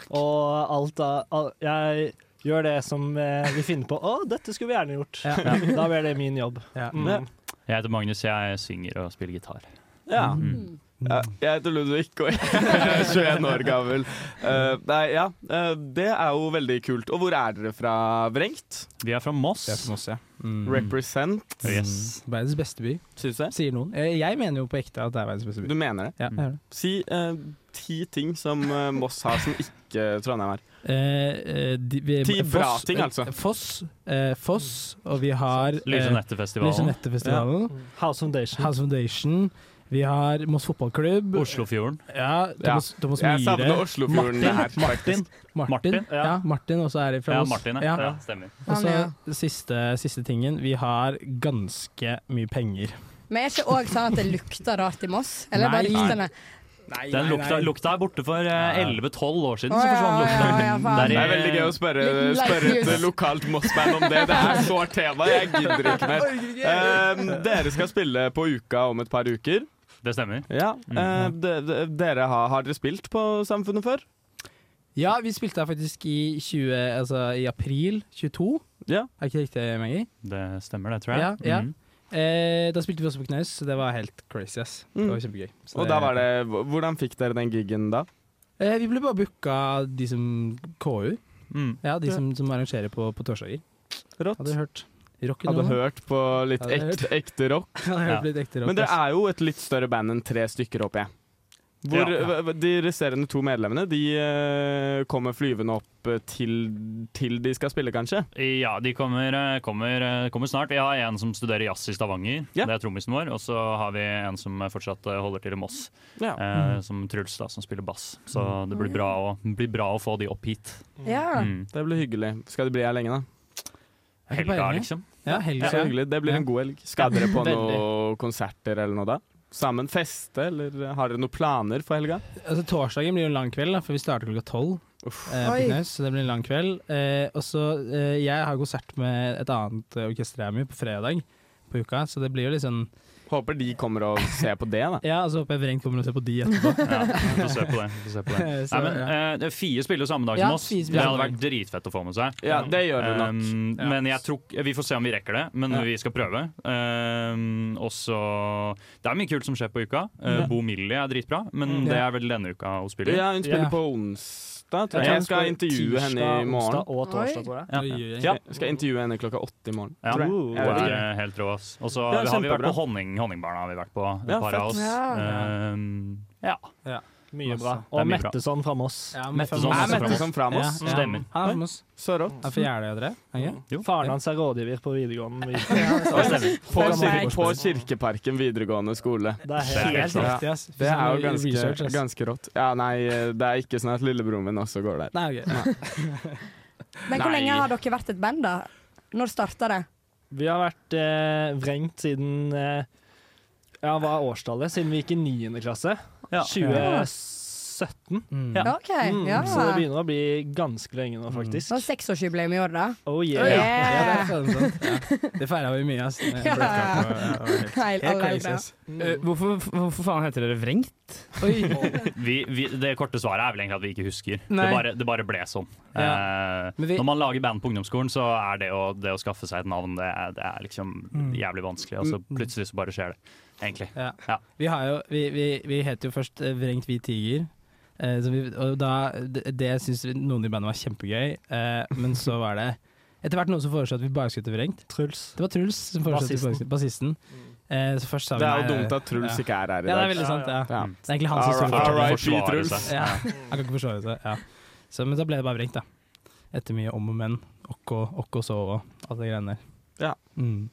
og alt av al- Jeg gjør det som eh, vi finner på. Å, dette skulle vi gjerne gjort.
Ja.
Da blir det min jobb.
Ja.
Mm.
Jeg heter Magnus, jeg synger og spiller gitar.
Ja.
Mm.
Ja, jeg heter Ludvig, og jeg er 21 år gammel. Eh, nei, ja, eh, det er jo veldig kult. Og hvor er dere fra, Vrengt?
Vi er fra Moss.
Det er for oss, ja. Mm.
Represent,
Yes.
Verdens beste by,
syns jeg.
sier noen. Eh, Jeg mener jo på ekte at det er verdens beste by.
Du mener det?
Ja, jeg gjør det.
Si eh, ti ting som eh, Moss har som ikke Trondheim har.
Eh, eh, de- vi-
Ti
Foss-
bra ting, altså.
eh, Foss, eh, Foss, og vi har eh,
Lysenetterfestivalen.
Lysenettefestivalen.
Mm. House Foundation.
House Foundation. Vi har Moss fotballklubb.
Oslofjorden.
Ja, Thomas, Thomas
Jeg
Myhre.
savner Oslofjorden her. faktisk.
Martin.
Martin,
ja.
ja. Martin også er fra
Ja,
Moss.
Martin, ja. ja. Stemmer.
Og så
Han,
siste, siste tingen. Vi har ganske mye penger.
Men er ikke òg sånn at det lukter rart i Moss? Eller bare
Nei.
luktene?
Den lukta, lukta er borte for eh, 11-12 år siden,
Å,
så
ja,
forsvant
ja, ja,
lukta.
faen.
Det er veldig gøy å spørre,
Liten light
spørre et
news.
lokalt Moss-band om det. Det er sårt tema. Jeg gidder ikke mer. Eh, dere skal spille på Uka om et par uker.
Det stemmer.
Ja, eh, de, de, dere har, har dere spilt på Samfunnet før?
Ja, vi spilte her faktisk i, 20, altså, i april 22.
Ja.
Er ikke det riktig, Maggie?
Det stemmer, det, tror jeg.
Ja, ja.
Mhm.
Eh, da spilte vi også på knaus, så det var helt crazy. ass Det var kjempegøy. Så
Mm. Og da var det, Hvordan fikk dere den gigen da?
eh, Vi ble bare booka av de som KU.
Mm.
Ja, de som, som arrangerer på, på torsdager.
Rått.
Hadde hørt rock
Hadde hørt på litt
Hadde hørt.
ekte, ekte rock.
Hadde hørt litt ekte rock.
Men dere
ass.
er jo et litt større band enn tre stykker, håper jeg. Hvor
Ja.
v- De resterende to medlemmene De eh, kommer flyvende opp eh, til, til de skal spille, kanskje?
Ja, de kommer, eh, kommer, eh, kommer snart. Vi har en som studerer jazz i Stavanger.
Ja.
Det er trommisen vår. Og så har vi en som fortsatt eh, holder til i Moss,
Ja.
Mm.
eh, som Truls, da, som spiller bass. Så det blir bra å, blir bra å få de opp hit.
Ja.
Mm.
Det blir hyggelig. Skal de bli her lenge, da?
Er ikke
Helga,
poenget?
liksom.
Ja, helga.
Så hyggelig. Det blir en god helg. Skal dere på noen konserter eller noe da? Sammen feste, eller har dere noen planer for helga?
Altså, torsdagen blir jo en lang kveld, da, for vi starter klokka tolv. Eh, på
Oi.
Knaus, så det blir en lang kveld. Eh, og så eh, Jeg har konsert med et annet eh, orkester jeg er med i på fredag på uka, så det blir jo litt sånn
Håper de kommer og ser på det, da.
Ja, og så håper jeg Vrengt kommer og ser på de etterpå.
Ja, vi får se på det. vi Får se på det.
Så,
Nei, men, eh, det er Fie spiller jo samme dag
Ja,
som oss.
Fie
det
spiller
hadde
samme
vært dritfett å få med seg.
Ja, det gjør det nok.
Um,
Ja.
Men jeg tror, vi får se om vi rekker det, men
Ja.
vi skal prøve. Um, og så Det er mye kult som skjer på uka. Uh,
Ja.
Bo Millie er dritbra, men
Mm.
det
Ja.
er vel denne uka hun spiller.
Ja, hun spiller
Ja.
på onsdag, tror
tror
jeg.
hun
Jeg skal
spiller
intervjue henne
tirsdag,
i morgen.
Onsdag og torsdag,
Oi.
tror jeg.
Ja.
Oi, oi, oi.
Ja.
Jeg skal intervjue henne klokka åtte i morgen.
Ja.
Tror jeg.
Wow.
Jeg
Hun
vet ikke.
er helt rå, ass. Og så
Ja,
har vi vært
kjempebra.
på honning, Honningbarna. har vi vært på, et
Ja,
par av
fett.
oss.
Ja.
Um, ja.
Ja.
Mye bra.
Masse. Det
Og
er mye bra.
Metteson fra Moss.
Ja, Metteson
Er
fra Moss.
Metteson fra Moss?
Ja, ja. Stemmer. Han er fra Moss.
Så rått.
Er fra Jeløya, dere? Er han ikke?
Faren hans er rådgiver på videregående.
På, kir
videregående.
på Kirkeparken videregående skole.
Det er helt riktig, ass.
Det er jo
Research,
ganske,
ass.
ganske rått. Ja, nei, det er ikke sånn at lillebroren min også går der.
Nei,
Men hvor
Nei.
lenge har dere vært et band, da? Når starta det?
Vi har vært eh, vrengt siden eh, Ja, hva er årstallet? Siden vi gikk i 9. klasse.
Ja.
2017.
Ja, ok, ja.
Mm, Så det begynner å bli ganske lenge nå,
Det
faktisk.
var seksårsjubileum i år, da.
Oh yeah.
Ja, det er sånn, sånn. Ja. Det feira vi mye, ass.
Ja.
Helt crazy, ass. Eh, hvorfor, hvorfor faen heter dere Vrengt?
vi, vi, det korte svaret er vel egentlig at vi ikke husker. Det
Nei.
bare, det bare ble sånn. Eh, Når man lager band på ungdomsskolen, så er det å, det å skaffe seg et navn det er, det er liksom
Mm.
jævlig vanskelig. Og så plutselig så bare skjer det, egentlig.
Ja.
Ja.
Vi, har jo, vi, vi, vi heter jo først eh, Vrengt hvit tiger. Eh, så vi, og da, det, det syns noen i bandet var kjempegøy, eh, men så var det etter hvert noen som foreslo at vi bare skulle hete Vrengt.
Truls.
Det var Truls som foreslo at vi bare skulle bassisten. Eh, så først sa vi
Det er jo
nei,
dumt at Truls
ja.
ikke er
Ja,
her i
det er
dag.
veldig sant. Ja. Mm.
Ja.
Det er egentlig han som
R-
står for
R.I.P.
forsvaret.
Truls.
Ja. Han kan ikke forsvare seg. Ja. Så, men da ble det bare Vrengt, da. Etter mye om og men, okk og okk og sove og alle de greiene der.
Ja.
Mm.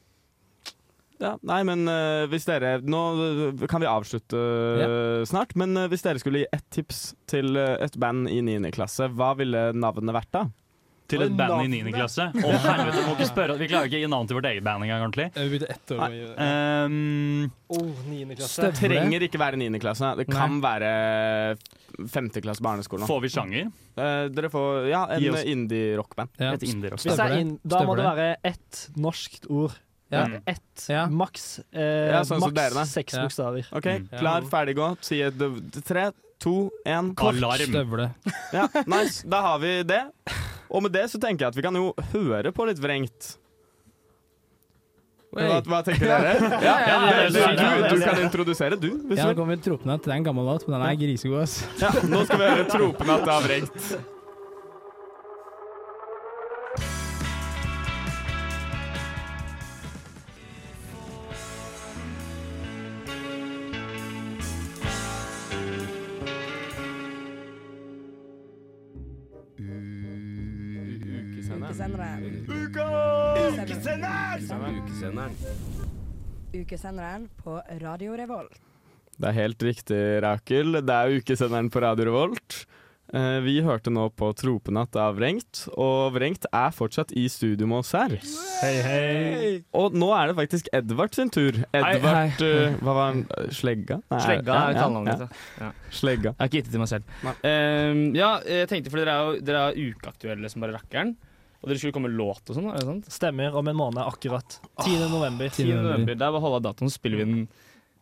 Ja, nei, men eh, hvis dere Nå eh, kan vi avslutte eh, snart, men eh, hvis dere skulle gi ett tips til eh, et band i 9. klasse, hva ville navnet vært da?
Til et band i 9. klasse? Å helvete, må ikke spørre Vi klarer ikke å gi navn til vårt eget band engang ordentlig.
Eh,
Vi begynte ett
år
Nei,
med-
ehm,
Oh, 9. klasse.
Det trenger ikke være 9. klasse. Det kan være 5. klasse barneskole.
Får vi sjanger?
Eh, dere får ja,
Gi
en
oss-
indie-rockband.
Ja. Et indie-rock.
Hvis det er inn, da må
Stemmer
det
det.
være ett norsk ord.
Ja.
Ett, maks eh,
Ja, sånn som dere, da.
maks seks
Ja.
bokstaver.
OK,
Mm.
klar, ferdig, gå. Si et d- tre, to, én
Kort. Alarm.
Støvle.
Ja, nice. Da har vi det. Og med det så tenker jeg at vi kan jo høre på litt vrengt. Hva, hva tenker dere?
Ja.
Ja,
Ja, ja,
det-
ja, ja,
du,
ja.
du kan introdusere, du. Hvis
Ja, nå
du vil.
kommer Tropenatt. Det er en gammel låt, men den er grisegod, ass.
Ja, nå skal vi høre Tropenatt av Vrengt.
Ukesenderen på Radio Revolt.
Det er helt riktig, Rakel. Det er ukesenderen på Radio Revolt. Eh, Vi hørte nå på Tropenatt av Vrengt, og Vrengt er fortsatt i studio med oss her.
Hei, hei.
Og nå er det faktisk Edvard sin tur. Edvard
Hei, hei.
eh, Hva var han? Slegga? Nei,
Slegga
ja,
er
ja,
kallenavnet
ja.
mitt. Ja.
Slegga.
Jeg har ikke gitt det til meg selv. Ehm, ja, jeg tenkte for dere er jo dere er ukeaktuelle som bare rakkeren. Og dere skulle komme med låt og sånn, er det sant?
Stemmer. Om en måned akkurat. 10. november.
10. november. Det er bare å holde av datoen, så spiller vi den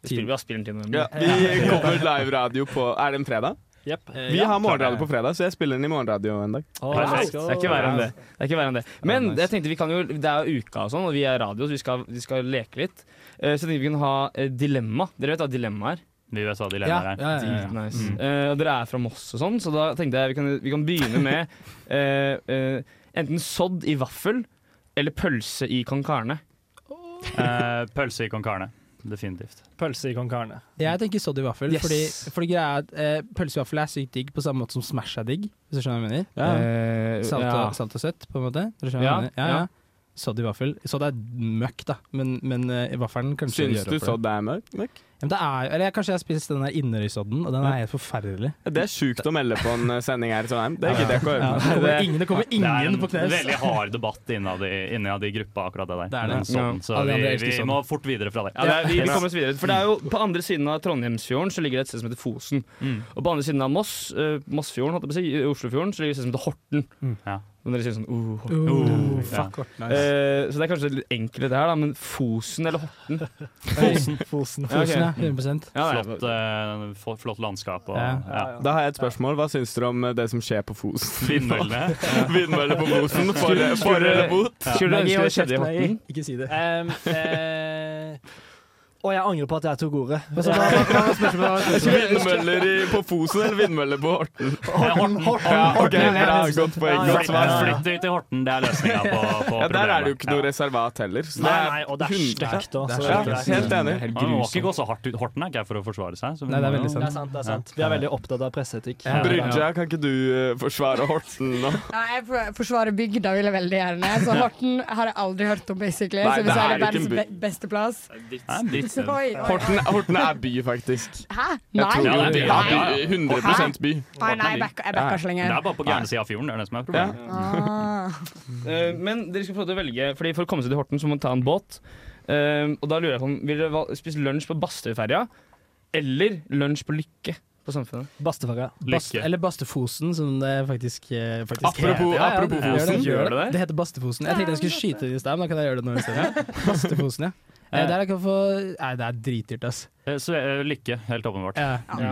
spiller, Vi har spillen 10. november.
Ja, vi kommer live radio på Er det en fredag?
Jepp.
Vi har morgenradio på fredag, så jeg spiller den i morgenradio en dag.
Perfekt. Det er ikke verre enn det. det, er ikke verre enn det. Men jeg tenkte vi kan jo, det er jo uka og sånn, og vi er radio, så vi skal, vi skal leke litt. Eh, Så jeg tenkte vi kunne ha eh, dilemma. Dere vet hva dilemma er?
Vi vet hva dilemmaet er.
Deep nice.
Mm.
Eh, og dere er fra Moss og sånn, så da tenkte jeg vi kan, vi kan begynne med eh, eh, enten sodd i vaffel eller pølse i kong Karne.
Eh, pølse i Kong Karne. Definitivt.
Pølse i kong Karne.
Jeg tenker sodd i vaffel,
Yes.
fordi, fordi greia er at eh, pølse i vaffel er sykt digg på samme måte som Smash er digg, hvis du skjønner hva jeg mener.
Ja.
Eh, salt,
ja.
og, salt og søtt, på en måte. Dere skjønner
Ja,
hva jeg mener. Ja,
ja.
ja. Sodd i vaffel. Sodd er møkk, da, men, men eh, i vaffelen kanskje
Syns du sodd er mørk? mørk?
Ja, men det er, eller jeg, Kanskje jeg har spist den der Inderøysodden, og den er helt forferdelig.
Det er sjukt å melde på en eh, sending her i Trondheim. Det gidder jeg ikke å
Ja,
høre
det kommer
på.
ingen- det kommer
Det er
ingen
en
på knes.
veldig hard debatt innad i, innad i gruppa, akkurat det der.
Det er det.
Men Sånn,
Ja.
så
Alle andre
vi,
elsker
vi
sånn.
må fort videre fra det.
Ja, det er, vi, vi kommer oss videre. For det er jo på andre siden av Trondheimsfjorden så ligger det et sted som heter Fosen.
Mm.
Og på andre siden av Moss, eh, Mossfjorden, holdt jeg på å si, i Oslofjorden, så ligger det et sted som heter Horten.
Ja.
Men dere sier sånn oh, Horten.
Oh,
Oh, ja.
fuck Horten, nice.
Eh, så det er kanskje litt enkelt dette her, da, men Fosen eller Horten?
Fosen.
Fosen.
Ja, ok.
Fosen, ja, 100%.
Ja, det er-
Flott, eh, fl- flott landskap og ja.
Da har jeg et spørsmål. Hva syns dere om eh, det som skjer på Fosen?
Vindmøllene.
Vindmøller på Fosen. For, for eller mot?
Nei, ikke si det. Um, eh, Og jeg angrer på at jeg tok ordet.
Men så hva- hva- hva var
Vindmøller i, på Fosen eller vindmøller på Horten?
Horten, Horten,
Ja, ok,
Horten.
bra, godt poeng. Godt svar.
Flytt ut til Horten, det er løsninga på, på
Ja, Der er det jo
problemet.
ikke noe reservat heller. så det
Nei,
er
nei, og det er
100
sterkt
Ja,
også, så
ja,
det er-
Helt enig.
Man må ikke gå så hardt ut. Horten er ikke her for å forsvare seg. så
Nei, det er veldig
Ja.
sant. Det er sant, det er sant. Vi er veldig opptatt av presseetikk.
Ja.
Brynja, kan ikke du eh, forsvare Horten nå?
Ja, jeg for- forsvarer bygda vil jeg veldig gjerne. Så Horten har jeg aldri hørt om, basically.
Nei,
så
det
hvis jeg
er
er
ikke en
verdens
by.
be beste plass Oi, oi.
Horten, Horten er by, faktisk.
Hæ?
Jeg
Nei.
tror jo det
eh, Ja, ja,
er
ja.
by. 100 by.
Nei, nei, jeg backer- jeg backer så lenge.
Det er bare på gærne sida av fjorden, det er det som er problemet.
Ah.
Eh, men dere skal få lov til å velge, fordi for å komme seg til Horten så må man ta en båt. Eh, og da lurer jeg på om Vil dere val- spise lunsj på Bastøyferja eller lunsj på Lykke på Samfunnet?
Bastefagga.
Bast, eller Bastefosen, som det faktisk, eh, faktisk
Apropos-
heter.
apropos
det gjør
Fosen.
Det,
Gjør det det?
det heter Bastefosen. Jeg tenkte jeg skulle skyte det i sted, men da kan jeg gjøre det nå i stedet. Bastefosen, ja. Eh, Der jeg kan få Nei, det er dritdyrt, ass.
Eh, Så, eh, lykke, helt åpenbart.
Ja.
Mm. Mye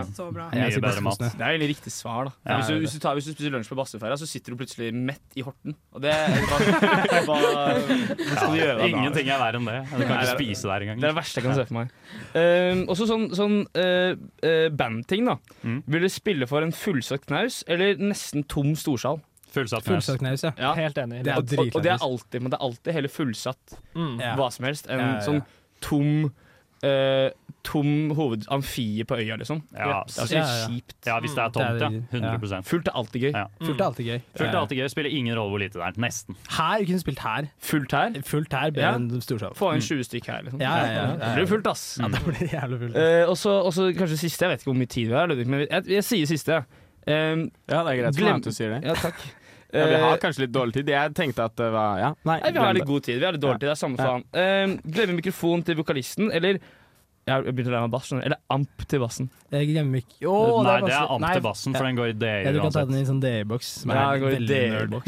Jeg sier
bedre mat.
Bastefosen,
Det er egentlig riktig svar, da.
Ja,
hvis,
det
du,
er
hvis, du tar, hvis du spiser lunsj på Bastøyferja, så sitter du plutselig mett i Horten. Og det hva, hva, hva skal du
Ja,
gjøre da?
Ingenting er verre enn det. Du kan
Nei,
ikke
det er-
spise der engang.
Det er det verste jeg kan se for meg. Ehm, også sånn, sånn eh, eh, bandting, da.
Mm.
Vil du spille for en fullsatt knaus eller nesten tom storsal?
Fullsatt
knaus. Fullsatt knaus, ja. Helt enig. Det er
og, og, og det
dritlættis.
er alltid, men det er alltid heller fullsatt
Mm. Ja.
hva som helst enn
Ja, ja, ja.
sånn tom eh, Tom hovedamfie på øya, liksom.
Ja,
det er så
ja, ja.
kjipt.
Ja, hvis det er tomt, ja. 100
Fullt er alltid gøy.
Fullt er alltid gøy.
Fullt er alltid gøy. Spiller ingen rolle hvor lite det er. Nesten.
Her, vi kunne spilt her.
Fullt her?
Fullt her, bedre
Ja.
enn Storsalen. Mm.
Få inn 20 stykk her, liksom.
Ja, ja, ja, ja, ja.
Det blir fullt, ass.
Ja, det blir jævlig fullt.
Eh, og så og så kanskje siste, jeg vet ikke hvor mye tid vi har, Ludvig, men jeg, jeg sier siste.
ja, det er greit for meg at du sier det.
Ja, takk. Eh,
Ja, vi har kanskje litt dårlig tid. Jeg tenkte at det var Ja, nei.
Nei, vi
glem
har
det.
litt god tid. Vi har litt dårlig tid, det er samme
Ja.
faen. Um, glemme mikrofonen til vokalisten, eller Jeg har begynt å lære meg bass, skjønner du. Eller amp til bassen.
Jeg glemmer ikke Å,
Nei,
vanskelig.
det er amp
Nei,
til bassen, for den går i DI
Ja, du kan ta
uansett.
den i en sånn DI-boks. som er
Ja, det går i
veldig
DI-boks.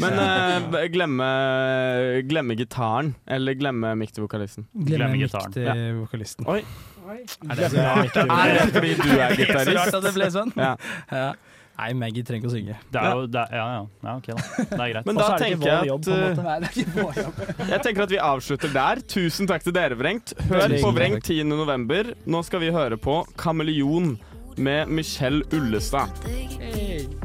nerdboks.
Men
Ja.
eh, glemme, glemme gitaren, eller glemme mic til vokalisten?
Glemme mic til vokalisten.
Oi.
Er det så rart?
Er det fordi du er
Det så
gitarist?
rart at det ble sånn.
Ja.
Ja. Nei, Maggie trenger ikke å synge.
Det er jo, det er, ja, ja. ja, ok da. Det er greit.
Men
Og
da
så er det ikke
tenker jeg
vår jobb,
at
på en måte.
eh,
Nei, det er ikke vår jobb.
Jeg tenker at vi avslutter der. Tusen takk til dere, Vrengt. Hør
Veldig hyggelig.
på Vrengt 10. november. Nå skal vi høre på Kameleon med Michelle Ullestad.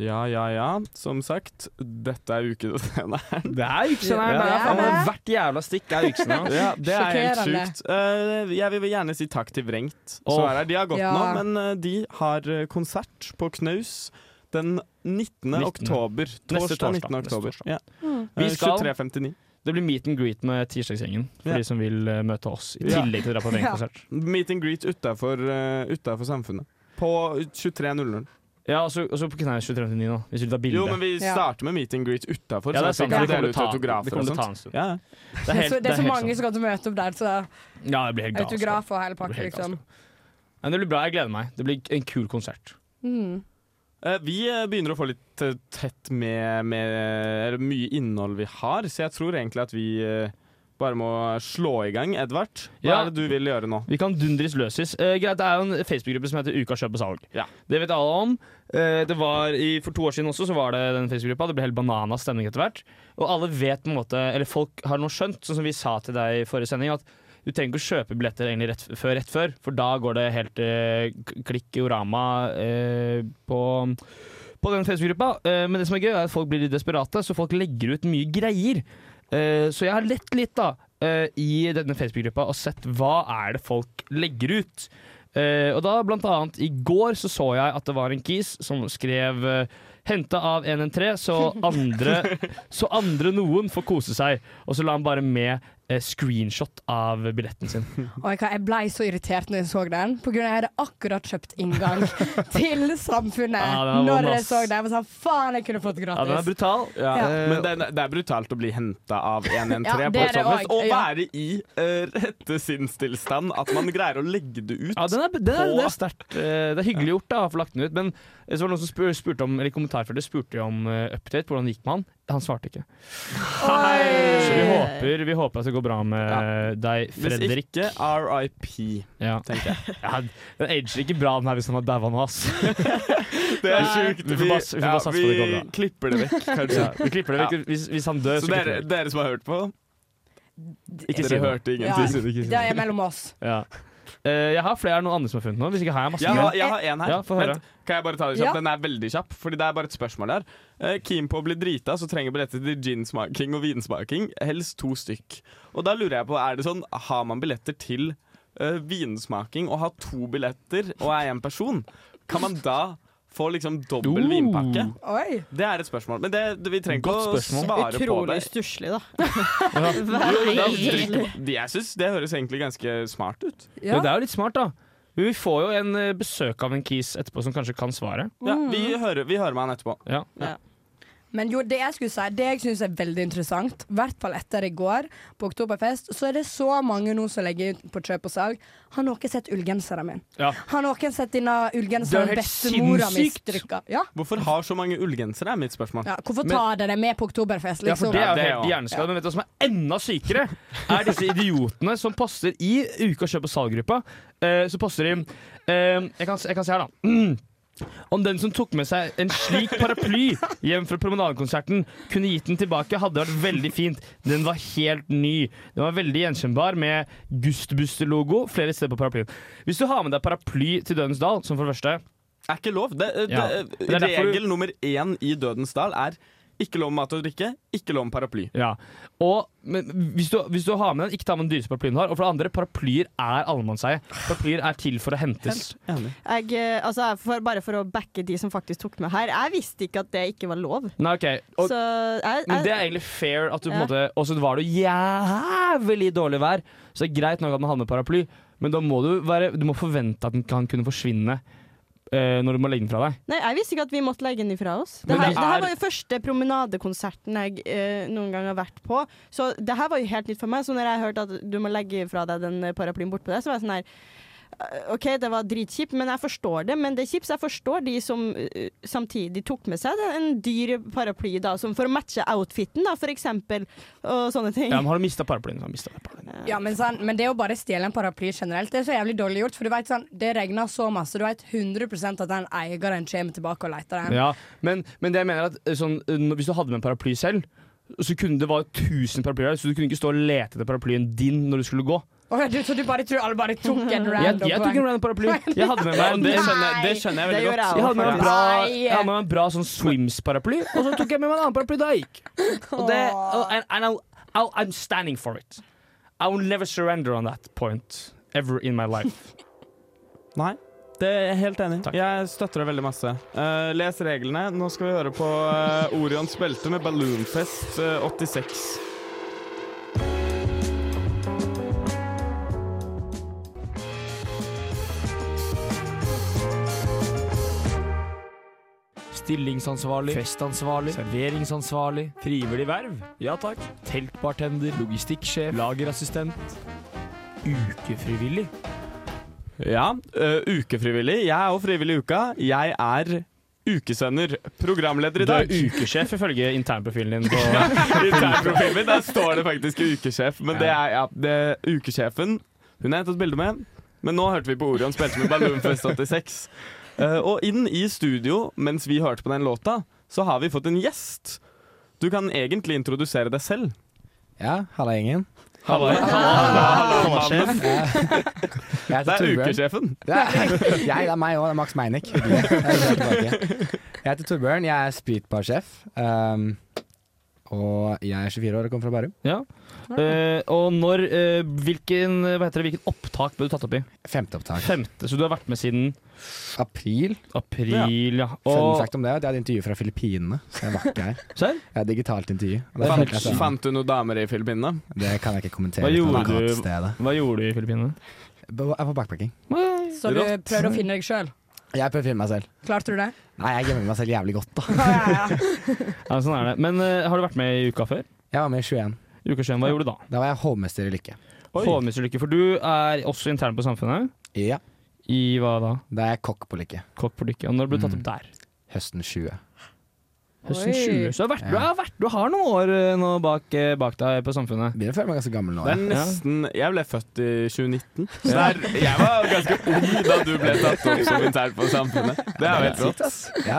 Ja, ja, ja. Som sagt, dette er ukesenderen.
Det er ukesenderen. Det er faen meg hvert jævla stikk er ukesenderen.
Ja, det er helt
Sjokkerende.
sjukt. Eh, jeg vil gjerne si takk til Vrengt. som
Åh.
er her. De har gått
Ja.
nå, men eh, de har eh, konsert på Knaus den 19.
19..
oktober.
Neste
Torsdag 19.
torsdag, neste
oktober.
torsdag.
Ja.
Mm.
Eh,
Vi skal-
23.59.
Det blir meet and greet med tirsdagsgjengen, for
Ja.
de som vil eh, møte oss. I
Ja.
tillegg til å dra på en konsert.
Meet and greet utafor samfunnet. På 23.00.
Ja, og så og så på Knaus 23.9, da, hvis du tar bilde.
Jo, men vi starter med meet and greet utafor.
Ja, det er sant, for vi kommer
deler
til å
ut
ta- vi
autografer
kommer
og
til å ta en
sånt.
stund.
Ja, ja.
Det er, så, det er så mange som kommer til å møte opp der, så
Ja, det blir helt galskap.
autograf og hele
Det
pakka,
blir helt
liksom.
galskap. Men det blir bra. Jeg gleder meg. Det blir en kul konsert.
Mm.
Eh, Vi eh, begynner å få litt eh, tett med, med eller mye innhold vi har, så jeg tror egentlig at vi eh, bare må slå i gang. Edvard, hva
Ja.
er det du vil gjøre nå?
Vi kan dundris løses. Eh, greit, Det er jo en Facebook-gruppe som heter Uka kjøp og salg.
Ja.
Det vet alle om. Eh, det var i, for to år siden også så var det den Facebook-gruppa. Det ble helt banana stemning etter hvert. Og alle vet på en måte, eller folk har nå skjønt, sånn som vi sa til deg i forrige sending, at du trenger ikke å kjøpe billetter egentlig rett f- før, rett før, for da går det helt eh, k- klikk i orama eh, på på den Facebook-gruppa. Eh, men det som er gøy, er at folk blir litt desperate, så folk legger ut mye greier. Eh, så jeg har lett litt da eh, i denne Facebook-gruppa og sett hva er det folk legger ut. Eh, og da blant annet i går så så jeg at det var en kis som skrev eh, Henta av 113, så andre, så andre noen får kose seg. Og så la han bare med eh, screenshot av billetten sin.
Og jeg, jeg blei så irritert når jeg så den, på grunn av at jeg hadde akkurat kjøpt inngang til Samfunnet.
Ja, den var vond,
når jeg
ass.
så den. Jeg var sånn, faen, jeg kunne fått
Ja, den er
gratis.
brutal.
Ja.
Men det, er- det er brutalt å bli henta av 113
Eh, Ja, det
på
er
et
det
sånt vis,
også,
og
ja.
være i eh, rette sinnstilstand. At man greier å legge det ut.
Ja, den er, det, er, det er sterkt. Eh, Det er hyggelig gjort da, å få lagt den ut. Men så var det noen som spur, spurte om Eller i kommentarfeltet spurte jo om eh, update, hvordan det gikk med han. Han svarte ikke. Så vi håper, vi håper at det går går bra med deg, Fredrik.
Hvis ikke RIP,
tenker jeg. Ja, den ager ikke bra den her hvis den var daua nå, ass.
Det er sjukt.
Vi får bare, vi får bare satse på det går bra.
vi klipper det vekk, kanskje.
Ja, vi klipper det vekk.
Ja.
Hvis, hvis han dør,
Så
så klipper
dere,
vi det.
dere som har hørt på,
Ikke si
dere
noe.
hørte
Ja,
ingenting.
det er mellom oss.
Ja. Eh, jeg har flere er det noen andre som har funnet noe. Hvis ikke har jeg masse
Jeg
mer.
har, jeg har en her.
Ja, få høre.
Vent, kan jeg bare ta det
Ja.
kjapt? Den er veldig kjapp, Fordi det er bare et spørsmål der. Eh, keen på å bli drita, så trenger billetter til ginsmaking og vinsmaking. Helst to stykk. Og da lurer jeg på, er det sånn, har man billetter til eh, vinsmaking og har to billetter og er en person? Kan man da få liksom dobbel
Oh.
vinpakke?
Oi.
Det er et spørsmål. Men det, det, vi trenger ikke
Godt
å
spørsmål.
svare på
Utrolig
det.
stusslig, da.
Jo, det er
Veldig.
dritt- det- Jeg syns det høres egentlig ganske smart ut.
Ja. det er jo litt smart, da. Men vi får jo en eh, besøk av en kis etterpå som kanskje kan svaret.
Ja, vi hører, vi hører med han etterpå.
Mm. Ja.
Men jo, det jeg skulle si, det jeg syns er veldig interessant, i hvert fall etter i går, på Oktoberfest, så er det så mange nå som legger ut på kjøp og salg. Har noen sett ullgenseren min?
Ja.
Har noen sett denne
Det er
ullgenseren
helt
sånn bestemora mi
sinnssykt.
strikka? Ja?
Hvorfor har så mange ullgensere, er mitt spørsmål.
Ja, hvorfor tar dere med på Oktoberfest,
Ja, for
liksom?
det er jo helt hjerneskade. Men vet du hva som er enda sykere? Er disse idiotene som poster i Uka kjøp og salg-gruppa. eh, så poster de eh, jeg, kan, jeg kan si her, da. Mm. Om den som tok med seg en slik paraply hjem fra promenadekonserten, kunne gitt den tilbake, hadde det vært veldig fint. Den var helt ny. Den var veldig gjenkjennbar med Gustbuster-logo flere steder på paraplyen. Hvis du har med deg paraply til Dødens Dal, som for det første
er ikke lov. Det, det,
Ja. Det er derfor du-
regel nummer én i Dødens dal er ikke lov med mat og drikke, ikke lov med paraply.
Ja. Og men hvis, du, hvis du har med den, ikke ta med den dyreste paraplyen du har. Og for det andre, paraplyer er allemannseie. Paraplyer er til for å hentes.
Jeg, eh, altså, jeg- for, bare for å backe de som faktisk tok med her. Jeg visste ikke at det ikke var lov.
Nei, ok. Og,
Så jeg,
men det er
jeg,
egentlig fair at du på en
Ja.
måte Og så var det jo jævlig dårlig vær, så det er greit nok at man har med paraply, men da må du, være, du må forvente at den kan kunne forsvinne eh, når du må legge den fra deg.
nei, jeg visste ikke at vi måtte legge den ifra oss. Det
Men
her,
det
det her
er-
var jo første promenadekonserten jeg eh, noen gang har vært på, så det her var jo helt nytt for meg. Så når jeg hørte at du må legge fra deg den eh, paraplyen bortpå der, så var jeg sånn her eh, OK, det var dritkjipt, men jeg forstår det. Men det er kjipt, så jeg forstår de som eh, samtidig tok med seg den- en dyr paraply, da, som for å matche outfiten, da, for eksempel, og sånne ting.
Ja, men har du mista paraplyen, så har du mistet paraplyen.
Ja, men, sånn, men det å bare stjele en paraply generelt, det er så jævlig dårlig gjort. For du vet sånn, det regner så masse. Du vet 100 at den eieren kommer tilbake og leter den.
Ja, men, men det jeg mener er at eh, sånn, eh, når- hvis du hadde med en paraply selv, så kunne det være 1000 paraplyer, så du kunne ikke stå og lete etter paraplyen din når du skulle gå.
Å, du, så du bare tror alle bare tok en
Jeg,
random
jeg tok en random paraply. Jeg hadde med meg en,
det, skjønner jeg, det skjønner jeg
Det
veldig
gjorde
godt.
jeg også, Jeg hadde med meg en bra, jeg hadde med meg en bra sånn swims-paraply, og så tok jeg med meg en annen paraply da jeg gikk. Og det, og, and, and I'll, I'll, I'm standing for it. I will never surrender on that point ever in my life.
Nei. Det er jeg helt enig i. Jeg støtter det veldig masse. Eh, les reglene. Nå skal vi høre på eh, Orions belte med Balloonfest eh, 86.
Stillingsansvarlig, festansvarlig, serveringsansvarlig, frivillig verv. Ja takk. Teltbartender, logistikksjef, lagerassistent. Ukefrivillig.
Ja, eh, ukefrivillig. Jeg er òg frivillig i uka. Jeg er ukesender. Programleder i
Du
dag.
er ukesjef ifølge internprofilen din. På
Internprofilen min, der står det faktisk ukesjef. Men det er ja, det er ukesjefen. Hun har jeg tatt bilde med, men nå hørte vi på Orion spilte med Balloonfest 86. Eh, og inn i studio, mens vi hørte på den låta, så har vi fått en gjest. Du kan egentlig introdusere deg selv.
Ja, halla gjengen.
Halla, halla, halla, halla, mannen.
Jeg
Det
heter
er
Torbjørn.
ukesjefen.
Det er, jeg, det er meg òg. Det er Max Meinick. Hyggelig. Jeg er tilbake. Jeg heter Torbjørn. Jeg er spritbarsjef. Um, og jeg er 24 år og kommer fra Bærum.
Ja. Eh, og når eh, hvilken, hva heter det, hvilken opptak ble du tatt opp i?
Femte opptak.
Femte, Så du har vært med siden
April.
April, ja.
Fun
Og
fact om det er at jeg hadde intervju fra Filippinene, så jeg var ikke her.
Serr?
Jeg hadde digitalt intervju. og det følte jeg
Fant,
sånn,
fant du noen damer i Filippinene?
Det kan jeg ikke kommentere.
hva
uten å
gjorde,
være til
du,
stede.
hva gjorde du i Filippinene?
B- Jeg var backpacking.
Så du prøvde å finne deg sjøl?
Jeg prøvde å finne meg selv.
Klarte du det?
Nei, jeg gjemmer meg selv jævlig godt, da.
Ja, sånn er det. Men eh, har du vært med i uka før?
Jeg var med i 21.
Uka siden, hva gjorde du da?
Da var jeg hovmester i Lykke.
Hovmester-lykke, for du er også intern på Samfunnet.
Ja.
I hva da?
Da er jeg kokk på Lykke. Mm.
Kokk på Lykke. Og når ble du tatt opp der?
Høsten 20.
Høsten
Oi.
20. Så det har vært,
Ja.
du, har vært, du har noen år eh, nå bak, eh, bak deg på Samfunnet.
Begynner å føle meg ganske gammel nå.
Det er nesten Jeg ble født i 2019. Så det er, jeg var ganske ung da du ble tatt opp som intern på Samfunnet. Det er jo helt rått.
Ja.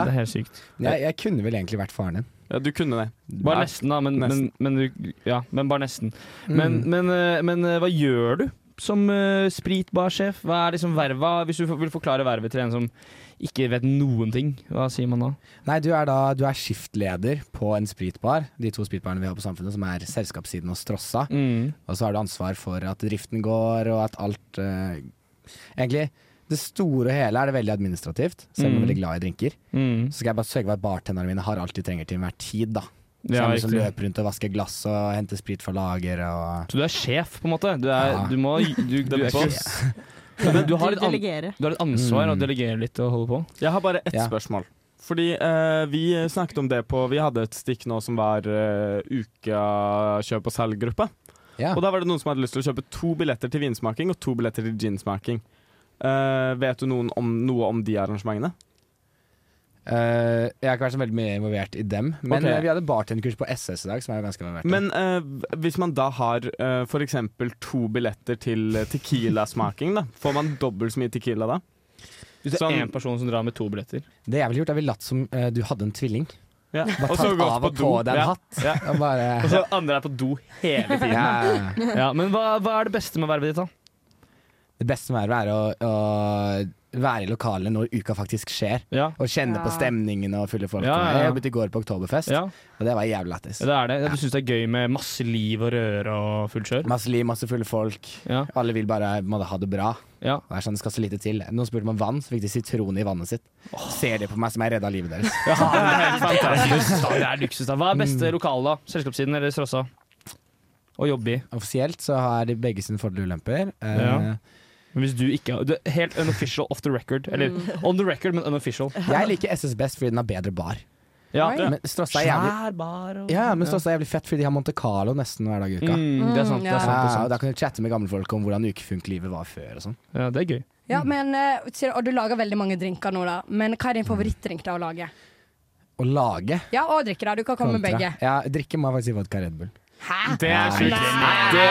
Det er helt sykt.
Jeg, jeg kunne vel egentlig vært faren din.
Ja, du kunne det.
Bare nesten, da. Men, Men, men, du, ja, men bare nesten. Men,
Mm.
men, eh, men eh, hva gjør du som eh, spritbarsjef? Hva er liksom verva? Hvis du f- vil forklare vervet til en som ikke vet noen ting, hva sier man da?
Nei, du er da Du er skiftleder på en spritbar, de to spritbarene vi har på Samfunnet, som er selskapssiden og Strossa.
Mm.
Og så har du ansvar for at driften går, og at alt eh, Egentlig, det store og hele er det veldig administrativt, selv om jeg er
Mm.
veldig glad i drinker.
Mm.
Så skal jeg bare sørge for at bartenderne mine har alt de trenger til enhver tid, da. Så
Ja,
jeg liksom
riktig.
løper rundt og vasker glass og henter sprit fra lager og
Så du er sjef, på en måte? Du, er,
Ja.
du må du, du,
The
er ikke-
boss.
Ja, men du, har
Du
litt an,
delegerer.
du har litt ansvar
Mm.
og delegerer litt og holder på?
Jeg har bare ett
Ja.
spørsmål. Fordi eh, vi snakket om det på Vi hadde et stikk nå som var eh, uka kjøp og salg-gruppe.
Ja.
Og da var det noen som hadde lyst til å kjøpe to billetter til vinsmaking og to billetter til ginsmaking. Eh, vet du noen om, noe om de arrangementene?
Eh, Jeg har ikke vært så veldig mye involvert i dem, men
Ok.
eh, vi hadde bartenderkurs på SS i dag, som jeg er ganske involvert i.
Men eh, v- hvis man da har eh, for f.eks. to billetter til eh, tequila-smaking, da, får man dobbelt så mye tequila da?
Hvis det er én person som drar med to billetter?
Det jeg ville gjort, er ville latt som eh, du hadde en tvilling.
Ja.
Bare
Og så
tatt
gått
av og
på
på
do.
deg en
Ja.
hatt. Og bare
Og så andre er på do hele tiden.
Ja.
ja, men hva, hva er det beste med vervet ditt, da?
Det beste med vervet er å, å være i lokalet når uka faktisk skjer. Og kjenne
Ja.
på stemningen og fulle folk.
Ja, ja, ja.
Jeg jobbet i går på Oktoberfest, og det var jævlig lættis.
Ja, Det er det. Du syns det er gøy med masse liv og røre og full kjør?
Masse liv, masse fulle folk. Alle vil bare på en måte, ha det bra. Det er sånn, det skal så lite til. Noen spurte meg om vann, så fikk de sitron i vannet sitt. Ser de på meg som jeg redda livet deres.
Ja, det er helt fantastisk. Ja, Det er luksus. da. Hva er beste
Mm.
lokale, da? Selskapssiden eller Strossa? Å jobbe i.
Offisielt så har de begge sine fordeler og ulemper. Eh,
Ja. Men hvis du ikke har det er Helt unofficial off the record. Eller
Mm.
on the record, men unofficial.
Jeg liker SS best fordi den har bedre bar.
Ja.
Men Strossa er jævlig
Svær bar og
Ja, men Strossa er jævlig fett, fordi de har Monte Carlo nesten hver dag i uka.
Mm, det er sant, det er sant, det er
Ja,
sant.
og Da kan du chatte med gamle folk om hvordan ukefunklivet var før og sånn.
Ja, det er gøy.
Ja, men, eh, sier- og du lager veldig mange drinker nå, da. Men hva er din favorittdrink da å lage?
Å lage
Ja, og drikke, da. Du kan komme med
kontra-
begge.
Ja, drikke må jeg faktisk si vodka Red Bull.
Det
er sjukt.
Det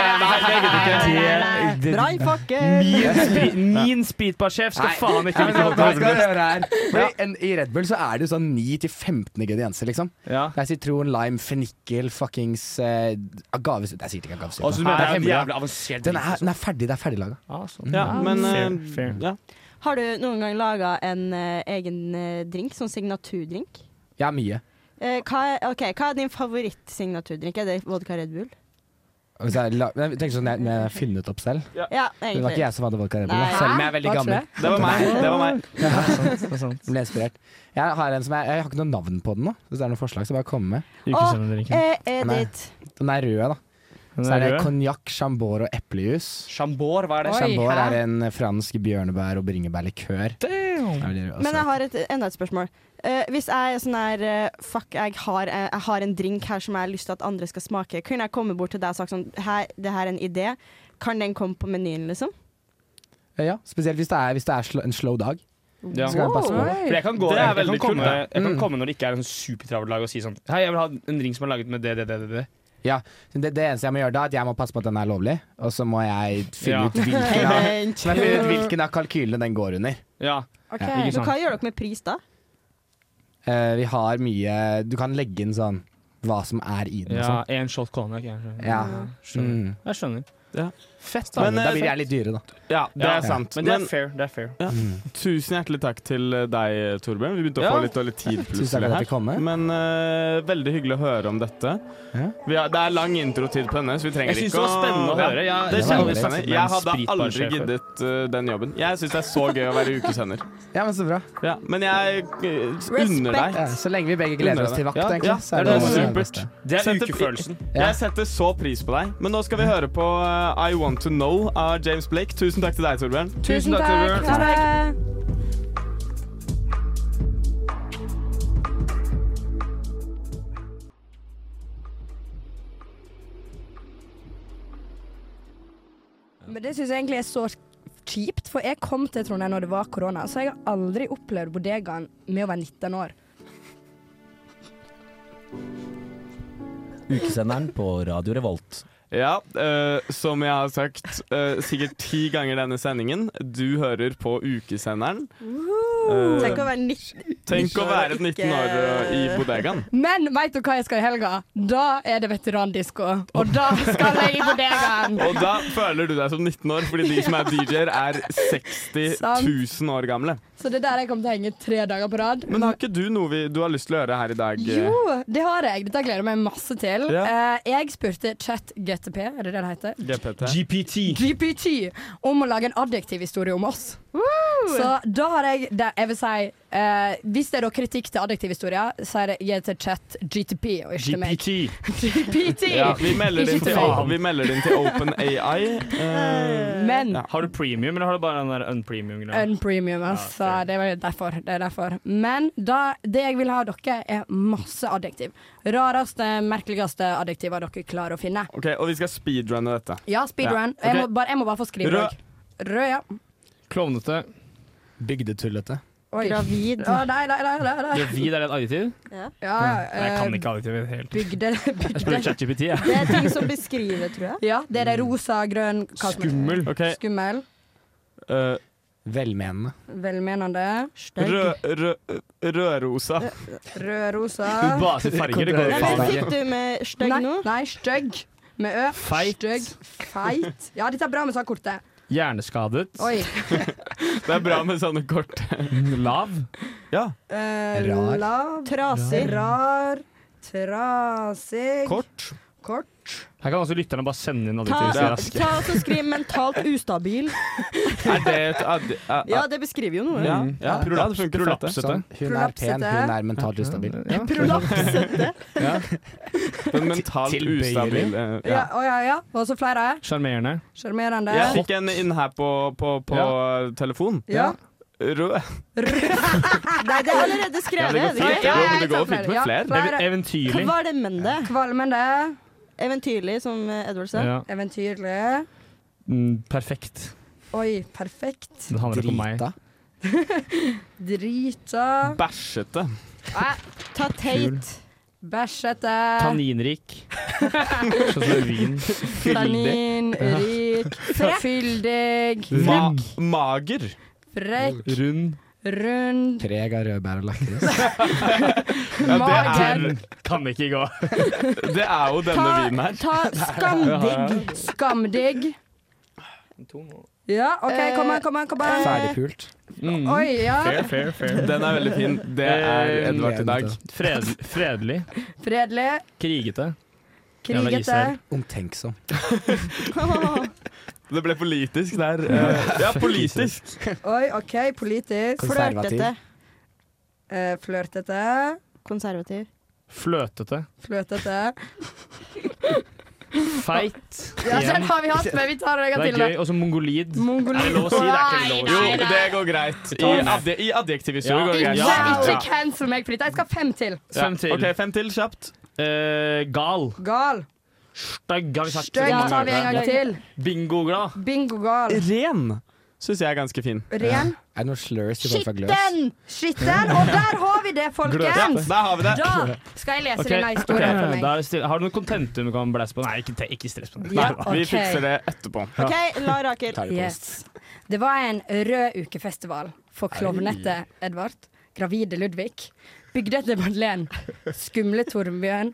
er
det- Brei pakke!
Min, spri- min spritbarsjef skal
Nei.
faen ikke
Nei,
vite hva
men hva skal
det er.
jeg gjøre her? Fordi en, I Red Bull så er det jo sånn 9-15 ingredienser, liksom. Det er sitron, lime, fennikel, fuckings eh, agave- Det er sikkert ikke agavesuppe.
Og så mener jeg
Nei,
det er
hemmelig,
jævlig
da.
avansert
Den
drink,
er, den er ferdig, det er ferdiglaga.
Ah,
Mm.
Ja, men eh, Ja.
Har du noen gang laga en eh, egen eh, drink, sånn signaturdrink?
Ja, mye.
Eh, hva, er, ok, hva er din favorittsignaturdrink? Er det vodka Red Bull?
Og så er det la- men Jeg tenker sånn jeg, jeg har funnet opp selv.
Ja. Ja,
det var
egentlig.
ikke jeg som hadde vodka Red Bull,
Nei.
da, selv om jeg er veldig
Hæ? Var
gammel.
ikke det? Det var meg, det var meg.
Ja.
det er sant.
Ble inspirert. Jeg har en som jeg, jeg har ikke noe navn på den nå. Hvis det er noen forslag, så bare kom med.
Å, eh,
Den er-
Edith.
Den er rød, da.
Den
Så
er
er det
rød?
konjakk, chambord og eplejus.
Chambord, hva er det?
Chambord er en fransk bjørnebær- og bringebærlikør.
Men
Men
jeg har et, enda et spørsmål. Eh, hvis jeg er sånn her eh, Fuck, jeg har, eh, jeg har en drink her som jeg har lyst til at andre skal smake. Kunne jeg komme bort til deg og sagt sånn her, Det her er en idé. Kan den komme på menyen, liksom? eh,
Ja, spesielt hvis det er, hvis det er sl en slow dag.
Ja.
Så kan jeg passe på det.
For jeg kan gå
Det er
jeg, jeg, kan
veldig
komme,
kult, det.
jeg kan
Mm.
komme når det ikke er en sånn supertravel dag og si sånn Hei, jeg vil ha en drink som er laget med det, det, det, det, det.
Ja, så det, det eneste jeg må gjøre da, er at jeg må passe på at den er lovlig, og så må jeg finne
Ja.
ut hvilken av,
Vent.
så må jeg finne ut hvilken av kalkylene den går under.
Ja.
Ok,
Ja, ikke
Men
sant.
hva gjør dere med pris da?
Eh, vi har mye Du kan legge inn sånn hva som er i den og
Ja,
sånn.
en shot konjakk. jeg skjønner.
Ja.
Skjønner.
Mm.
Jeg skjønner.
Fett,
da. Da blir jeg litt dyre, da.
eh, Ja, det
Ja.
er sant.
Men det er fair, det er fair.
Ja.
Mm.
Tusen hjertelig takk til eh, deg, Torbjørn. Vi begynte å
Ja.
få litt dårlig tid
Tusen takk for
plutselig
at jeg
her.
kom med.
Men eh, veldig hyggelig å høre om dette. Vi har, det er lang introtid på henne, så vi trenger ikke
Jeg synes det var spennende å høre.
Ja,
Jeg-
det
jeg
er
har aldri snakket
kjempespennende.
med en
Jeg hadde aldri
spritbarsjef før.
giddet eh, den jobben. Jeg syns det er så gøy å være ukesender.
Ja, men så bra.
Ja, men jeg eh, unner deg
Ja, så lenge vi begge gleder
Unner
oss til
deg.
vakt, egentlig.
Ja,
så
ja, det er
det
supert.
Det er
Setter-
ukefølelsen.
Jeg setter så pris på deg. Men nå skal vi høre på eh, I Want To Know av James Blake. Tusen takk til deg, Torbjørn.
Tusen takk, Torbjørn.
Ha det. Men det syns jeg egentlig er så kjipt, for jeg kom til Trondheim når det var korona, så jeg har aldri opplevd bodegaen med å være 19 år.
Ukesenderen på Radio Revolt.
Ja, eh, som jeg har sagt eh, sikkert ti ganger denne sendingen, du hører på ukesenderen. Eh,
Tenk å være 19
tenk å være et 19 år eh, i bodegaen.
Men veit du hva jeg skal i helga? Da er det veterandisko. Og da skal jeg i bodegaen.
Og da føler du deg som 19 år, fordi de som er DJ-er, er 60
Sant.
000 år gamle.
Så det er der jeg kommer til å henge tre dager på rad.
Men har ikke du noe vi, du har lyst til å gjøre her i dag? eh?
Jo, det har jeg. Dette gleder jeg meg masse til.
Ja.
Eh, jeg spurte ChatGTP, er det det det heter?
GPT.
GPT om å lage en adjektiv historie om oss. Så da har jeg det, Jeg vil si eh, Hvis det er da kritikk til adjektivhistorier, så er det gi det til chat GTP og ikke til meg. GPT!
Ja, vi melder det inn
Ikke
til,
til meg.
vi melder det inn til OpenAI. eh,
Men
ja.
Har du premium, eller har du bare den der unpremium-greia?
Unpremium, altså. det var derfor. Det er derfor. Men da, det jeg vil ha av dere, er masse adjektiv. Rareste, merkeligste adjektiver dere klarer å finne.
Ok, Og vi skal speedrunne dette.
Ja, speedrun.
Ja.
Jeg, må
Ok.
bare, jeg må bare få skrive
Rød.
òg. Rød, ja.
Klovnete.
Bygdetullete.
Oi.
Gravid.
Å, nei, nei, nei. nei, nei.
Gravid er et adjektiv?
Ja.
Ja,
Nei, jeg kan
eh,
ikke adjektivet helt.
Bygde, bygde.
Jeg spør ChatGPT, jeg.
Det er ting som beskriver, tror jeg.
Ja, det er det rosa, grønn hva som-
Skummel. Ok.
Skummel.
Eh,
Velmenende.
Velmenende.
Rød, rød, rødrosa.
Rød, rosa.
Du bare sier farger, det går jo
Nei,
faen ikke.
men Fikk du med stygg
Nei,
nå?
nei stygg. Med ø.
Feit.
Stygg. Feit. Ja, dette er bra med sånn kortet.
Hjerneskadet.
Oi.
Det er bra med sånne kort.
Lav.
Ja.
Eh,
Rar.
Lav.
Trasig.
Rar. Trasig.
Kort.
Kort.
Her kan også lytterne bare sende inn
Ta,
adjektiv.
ta og så Skriv 'mentalt ustabil'.
Er det et ad... a-
Ja, det beskriver jo noe.
Ja, Mm. ja,
Ja,
prolaps, det funker fett, det.
Sånn, hun er pen, hun er mentalt ustabil.
Prolapsete.
Ja. Den mentalt eh,
Tilbøyelig.
ustabile.
Ja, å, ja, ja. Og så flere. ja.
Sjarmerende.
Sjarmerende.
Jeg fikk en inn her på, på, på telefon.
Ja.
Rød.
Nei, det er allerede
Ja,
skrevet.
det går
er det ikke?
fint. Jo, men det går fint med
Ja,
flere.
flere.
Ev- Eventyrlig.
Kvalmende.
Kvalmende.
Eventyrlig, som eh, Edward sa.
Ja.
Eventyrlig.
Mm, perfekt.
Oi, perfekt.
Det handler ikke om meg.
Drita.
Bæsjete.
Nei,
Ta teit.
Bæsjete.
Tanninrik. Sånn som er vin.
Tannin.
Ja.
Rik.
Frekk.
Fyldig.
Ma mager.
Frekk.
Rund.
Rund.
Preg av rødbær og lakris.
Ja, det,
Mager.
er, kan ikke gå. det er jo denne vinen her.
ta skamdigg. Skamdigg. Ja, OK, kom an, kom an. Kom an.
Ferdigpult.
Oi, ja.
Fair, fair, fair. Mm. Den er veldig fin. Det er
Eh,
Edvard i dag.
Fred, fredelig.
Fredelig.
Krigete. Jævla Israel.
Krigete.
Omtenksom.
Det ble politisk der. Eh, Ja, politisk.
Oi, OK, politisk.
Konservativ.
Flørtete.
Eh, flørtete.
Konservativ.
Fløtete.
Fløtete.
Feit.
Ja,
Igjen.
den har vi hatt, men vi tar en
Det
gang
er
til.
gøy. Og så mongolid. Er det lov å si? Det er ikke lov å
Jo,
si.
det går greit. I, adje, i adjektivhistorie
Ja.
går det greit.
Ikke, ikke
Ja.
cancel meg for dette. Jeg skal ha fem til.
Ja.
Fem til.
Ok, fem til kjapt.
Eh, gal.
Gal.
Stygg har vi sagt.
Stygg tar vi en gang til.
Bingo-glad.
Bingo-gal.
Ren syns jeg er ganske fin.
Ren.
Er det noen slurs i form av gløs?
Skitten! Skitten! Og der har vi det, folkens!
Ja, der har vi det.
Da skal jeg lese
Ok,
denne historien
ok,
for meg.
da er det stille. Har du noen kontentum du kan blæse på? Nei, ikke, te- ikke stress på det.
Ja,
Nei,
ok.
etterpå.
OK, la Rakel.
Yes. Det var en rød ukefestival for klovnete Edvard, gravide Ludvig, bygdete Madeleine, skumle Torbjørn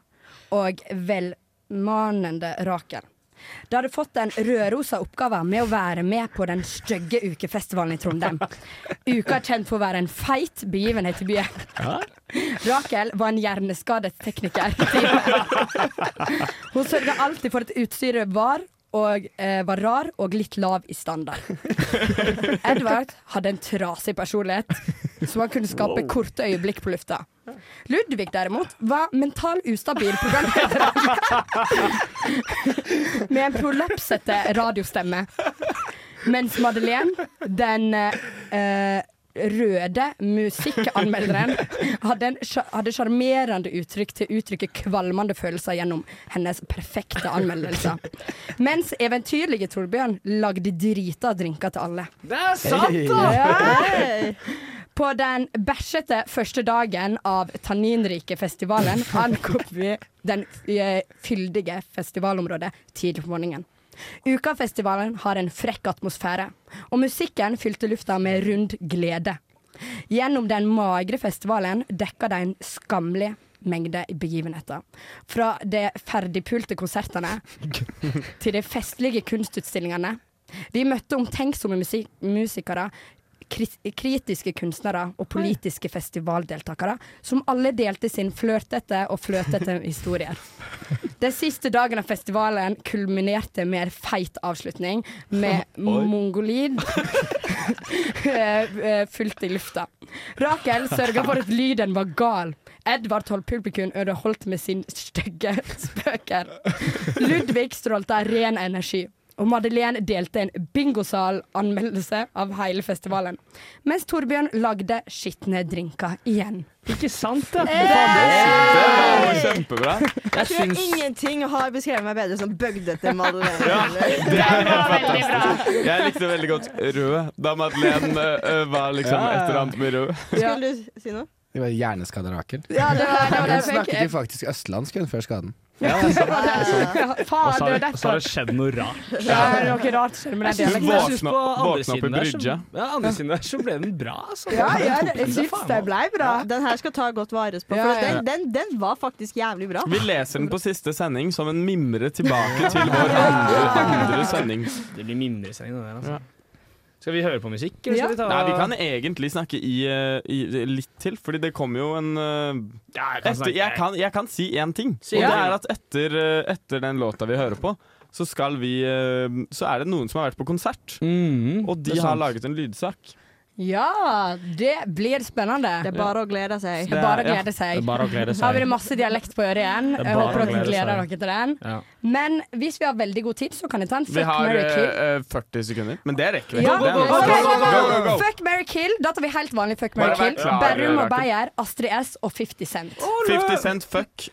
og velmanende Rakel. De hadde fått den rødrosa oppgaven med å være med på den stygge ukefestivalen i Trondheim. Uka er kjent for å være en feit begivenhet i byen. Rakel var en hjerneskadet tekniker. Hun sørga alltid for at utstyret var og eh, var rar og litt lav i standard. Edvard hadde en trasig personlighet, så han kunne skape korte øyeblikk på lufta. Ludvig derimot var mental ustabil programleder med en prolapsete radiostemme. Mens Madeleine, den eh, røde musikkanmelderen, hadde en sja- hadde sjarmerende uttrykk til å uttrykke kvalmende følelser gjennom hennes perfekte anmeldelser. Mens eventyrlige Torbjørn lagde drita drinker til alle.
Det er sant, da!
Ja. På den bæsjete første dagen av Tanninrikefestivalen ankom vi den eh, fyldige festivalområdet tidlig på morgenen. Ukafestivalen har en frekk atmosfære, og musikken fylte lufta med rund glede. Gjennom den magre festivalen dekka de en skammelig mengde begivenheter. Fra de ferdigpulte konsertene til de festlige kunstutstillingene. Vi møtte omtenksomme musik musikere, kris- kritiske kunstnere og politiske festivaldeltakere, som alle delte sin flørtete og fløtete historier. Den siste dagen av festivalen kulminerte med en feit avslutning med
Oi.
mongolid eh, fullt i lufta. Rakel sørga for at lyden var gal. Edvard holdt publikum underholdt med sine stygge spøker. Ludvig strålte av ren energi. Og Madeleine delte en bingosal-anmeldelse av hele festivalen. Mens Torbjørn lagde skitne drinker igjen. Eh!
Ikke sant, da?
Det var kjempebra.
Jeg tror ingenting har beskrevet meg bedre som bøgdete Madeleine.
Ja, det er fantastisk.
bra.
Jeg likte veldig godt rød, da Madeleine eh, var liksom
Ja, ja, ja.
et eller annet med rød.
Skulle du si noe?
Det var hjerneskada Rakel.
Ja, det var- det var det jeg
hun snakket
fikk.
jo faktisk østlandsk hun før skaden.
Ja, det var det. Faen, det var
Og så har
derfor.
det skjedd noe rart.
Det er noe rart skjer med den
Jeg synes
dialekten.
våkna- våkna opp i brydja.
Ja, andre siden der så ble den bra, altså.
Ja, ja,
Den tok
jeg
seg
syns
faen meg.
det blei bra. Den her skal ta godt vares på.
Ja,
For
ja.
den, den, den var faktisk jævlig bra.
Vi leser den på siste sending som en mimre tilbake til vår andre, andre sending.
Det blir mimresending, det der, altså. Skal vi høre på musikk, eller
Ja.
skal vi ta
Nei, vi kan egentlig snakke i, eh, i litt til, fordi det kommer jo en eh,
jeg kan
etter,
snakke-
jeg, kan, jeg kan si én ting.
Si
og
en
det
ting.
er at etter, eh, etter den låta vi hører på, så, skal vi, eh, så er det noen som har vært på konsert.
Mm,
og
det
de
er
har
sant.
laget en lydsak.
Ja, det blir spennende.
Det er bare å glede seg.
Det er bare
Det
å
er- ja,
glede seg.
det er bare å glede seg.
Har vi det masse dialekt på øret igjen?
Det er
Jeg
bare
håper
å
dere
glede seg.
gleder dere til den.
Ja.
Men hvis vi har veldig god tid, så kan jeg ta en
Vi
fuck,
har
marry, kill.
eh, eh, 40 sekunder, men det rekker vi.
Ja.
Det er nok.
Ok,
Go, go, go, go, go.
Fuck, marry, kill. Da tar vi helt vanlig fuck,
Bare
marry,
vær
kill.
klar,
Berrum og
Rakel.
Beyer, Astrid S og 50 Cent.
50 Cent, fuck.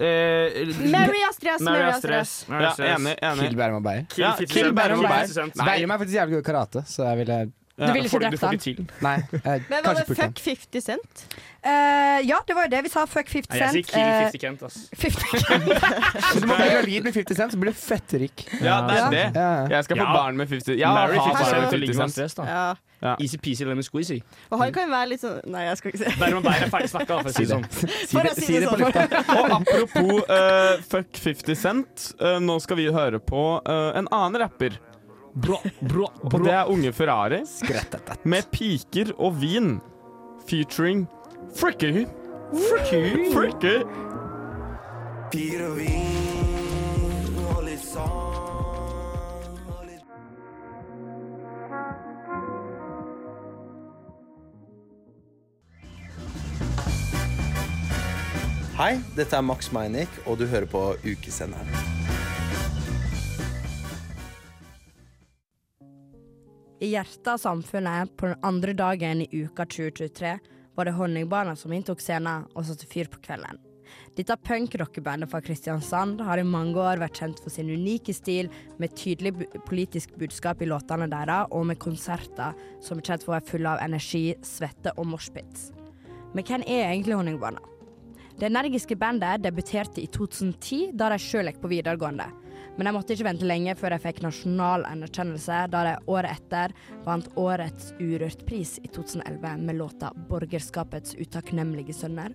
Eh, Mary Astrid S, Mary Astrid S.
Ja, enig, enig.
Kill Bærum og Beyer.
Kill Ja, 50 Kill Cent. Bærum og Bærum og Bærum. Bærum. Nei.
Bærum er faktisk jævlig god i karate, så jeg ville
Du ville ikke Får- du drept får han. ikke til.
Nei, jeg,
Men hva
kanskje
med
pult han.
fuck 50 Cent?
Eh, ja, det var jo det vi sa. Fuck 50 Cent. Eh,
Kent, ass.
50
Hvis man blir gravid med 50 Cent, så blir du fetterik.
Ja, det er
Ja.
det. Jeg skal få
Ja.
barn med 50 Jeg
Marry
har
50
barn
Cent
med
og ligge
50
med
Cent.
Astrid S, da.
Ja.
Easy-peasy lemon squeezy.
Og han kan være litt sånn Nei, jeg skal ikke si
Bærum og Beyer er ferdig snakka, for å si det sånn.
altså, For å si det sånn.
Og apropos eh, fuck 50 Cent, eh, nå skal vi høre på eh, en annen rapper. Og det er Unge Ferrari med piker og vin featuring Fricky. Fricky. Fricky.
Piker og vin og litt sånn.
Hei, dette er Max Meinick, og du hører på Ukesenderen.
I hjertet av samfunnet, på den andre dagen i uka 2023, var det Honningbarna som inntok scenen og satte fyr på kvelden. Dette punkrockebandet fra Kristiansand har i mange år vært kjent for sin unike stil, med tydelig bu- politisk budskap i låtene deres, og med konserter som er kjent for å være fulle av energi, svette og moshpits. Men hvem er egentlig Honningbarna? Det energiske bandet debuterte i 2010, da de sjøl gikk på videregående. Men de måtte ikke vente lenge før de fikk nasjonal anerkjennelse, da de året etter vant Årets Urørt-pris i 2011 med låta 'Borgerskapets utakknemlige sønner'.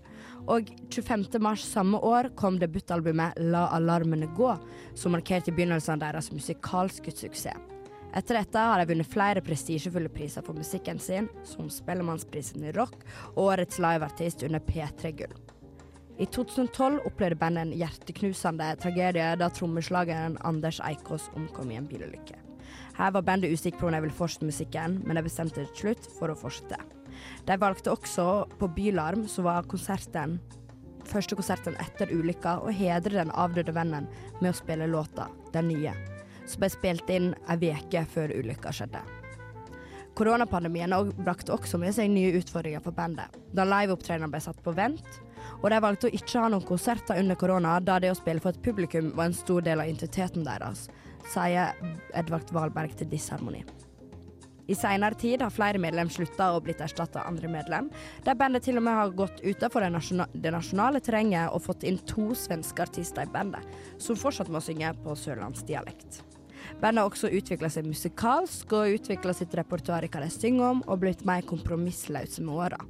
Og 25. mars samme år kom debutalbumet 'La alarmene gå', som markerte begynnelsen av deres musikalske suksess. Etter dette har de vunnet flere prestisjefulle priser for musikken sin, som Spellemannsprisen i rock og Årets liveartist under P3 Gull. I 2012 opplevde bandet en hjerteknusende tragedie da trommeslageren Anders Eikås omkom i en bilulykke. Her var bandet usikker på om de ville fortsette musikken, men de bestemte til slutt for å fortsette. De valgte også på Bylarm, som var konserten første konserten etter ulykka, å hedre den avdøde vennen med å spille låta 'Den nye', som ble spilt inn ei uke før ulykka skjedde. Koronapandemien og- brakte også med seg nye utfordringer for bandet, da liveopptredenene ble satt på vent, og de valgte å ikke ha noen konserter under korona, da det å spille for et publikum var en stor del av identiteten deres, sier Edvard Valberg til Disharmoni. I senere tid har flere medlem slutta og blitt erstatta av andre medlem, der bandet til og med har gått utenfor det, nasjona det nasjonale terrenget og fått inn to svenske artister i bandet, som fortsatt må synge på sørlandsdialekt. Bandet har også utvikla seg musikalsk og utvikla sitt repertoar i hva de synger om, og blitt mer kompromissløse med åra.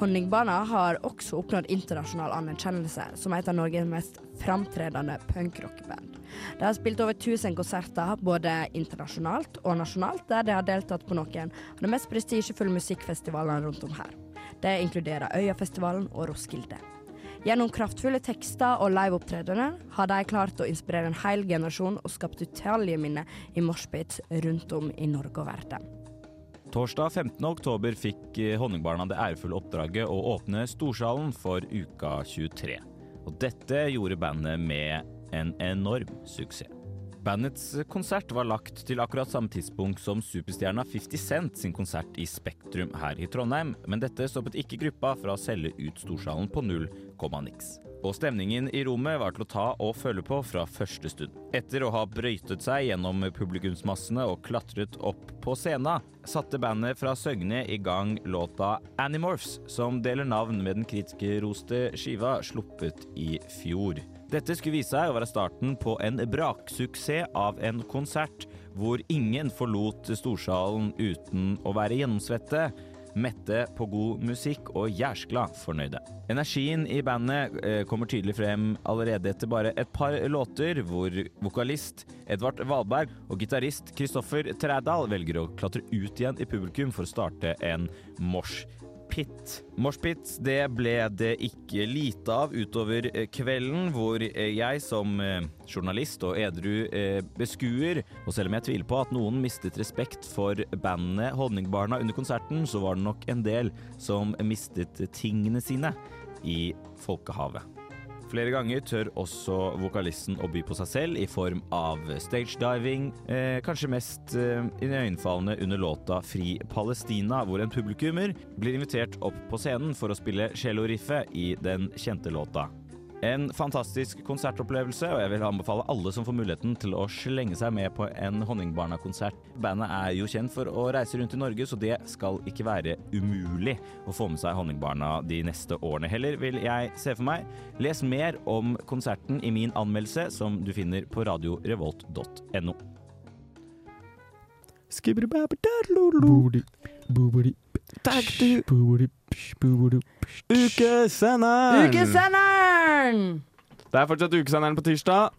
Honningbarna har også oppnådd internasjonal anerkjennelse som et av Norges mest framtredende punkrockband. De har spilt over 1000 konserter både internasjonalt og nasjonalt, der de har deltatt på noen av de mest prestisjefulle musikkfestivalene rundt om her. Det inkluderer Øyafestivalen og Roskilde. Gjennom kraftfulle tekster og liveopptredener har de klart å inspirere en hel generasjon og skapt utallige minner i moshpits rundt om i Norge og verden.
Torsdag 15. oktober fikk eh, Honningbarna det ærefulle oppdraget å åpne Storsalen for uka 23. Og dette gjorde bandet med en enorm suksess. Bandets konsert var lagt til akkurat samme tidspunkt som superstjerna 50 Cent sin konsert i Spektrum her i Trondheim, men dette stoppet ikke gruppa fra å selge ut Storsalen på null komma niks. Og stemningen i rommet var til å ta og føle på fra første stund. Etter å ha brøytet seg gjennom publikumsmassene og klatret opp på scenen, satte bandet fra Søgne i gang låta Animorphs, som deler navn med den kritikerroste skiva sluppet i fjor. Dette skulle vise seg å være starten på en braksuksess av en konsert hvor ingen forlot storsalen uten å være gjennomsvette mette på god musikk og jærskla fornøyde. Energien i bandet eh, kommer tydelig frem allerede etter bare et par låter, hvor vokalist Edvard Valberg og gitarist Kristoffer Trædal velger å klatre ut igjen i publikum for å starte en mosh Pit. Moshpit, det ble det ikke lite av utover eh, kvelden, hvor eh, jeg som eh, journalist og edru eh, beskuer, og selv om jeg tviler på at noen mistet respekt for bandet Honningbarna under konserten, så var det nok en del som mistet tingene sine i folkehavet. Flere ganger tør også vokalisten å by på seg selv i form av stagediving, eh, kanskje mest eh, iøynefallende under låta Fri Palestina, hvor en publikummer blir invitert opp på scenen for å spille cello-riffet i den kjente låta. En fantastisk konsertopplevelse, og jeg vil anbefale alle som får muligheten til å slenge seg med på en Honningbarna-konsert. Bandet er jo kjent for å reise rundt i Norge, så det skal ikke være umulig å få med seg Honningbarna de neste årene heller, vil jeg se for meg. Les mer om konserten i min anmeldelse, som du finner på radiorevolt.no.
Takk, du.
Ukesenderen!
Ukesenderen!
Det er fortsatt ukesenderen på tirsdag.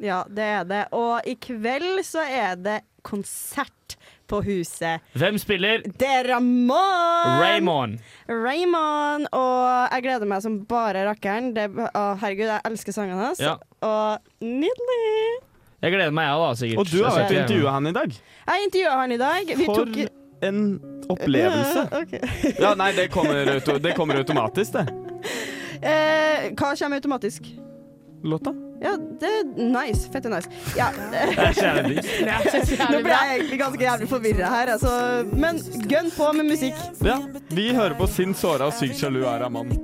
Ja, det er det. Og i kveld så er det konsert på huset.
Hvem spiller?
Det er Ramón!
Raymond.
Raymond. Og jeg gleder meg som bare rakkeren. Det, å, herregud, jeg elsker sangene hans.
Ja.
Og nydelig!
Jeg gleder meg, jeg da, sikkert.
Og du har vært og
Jeg ser-
intervjua han i dag.
Jeg intervjua han i dag. Vi
For
tok
en
Mm.
opplevelse. Ja, nei, det kommer, auto det kommer automatisk, det.
Eh, hva kommer automatisk?
Låta.
Ja, det er nice. Fette nice. Ja.
er så jævlig dyrt.
Det er så jævlig
Nå ble jeg egentlig ganske jævlig forvirra her, altså. Men gønn på med musikk.
Ja, Vi hører på Sint såra og Sykt sjalu er av mannen.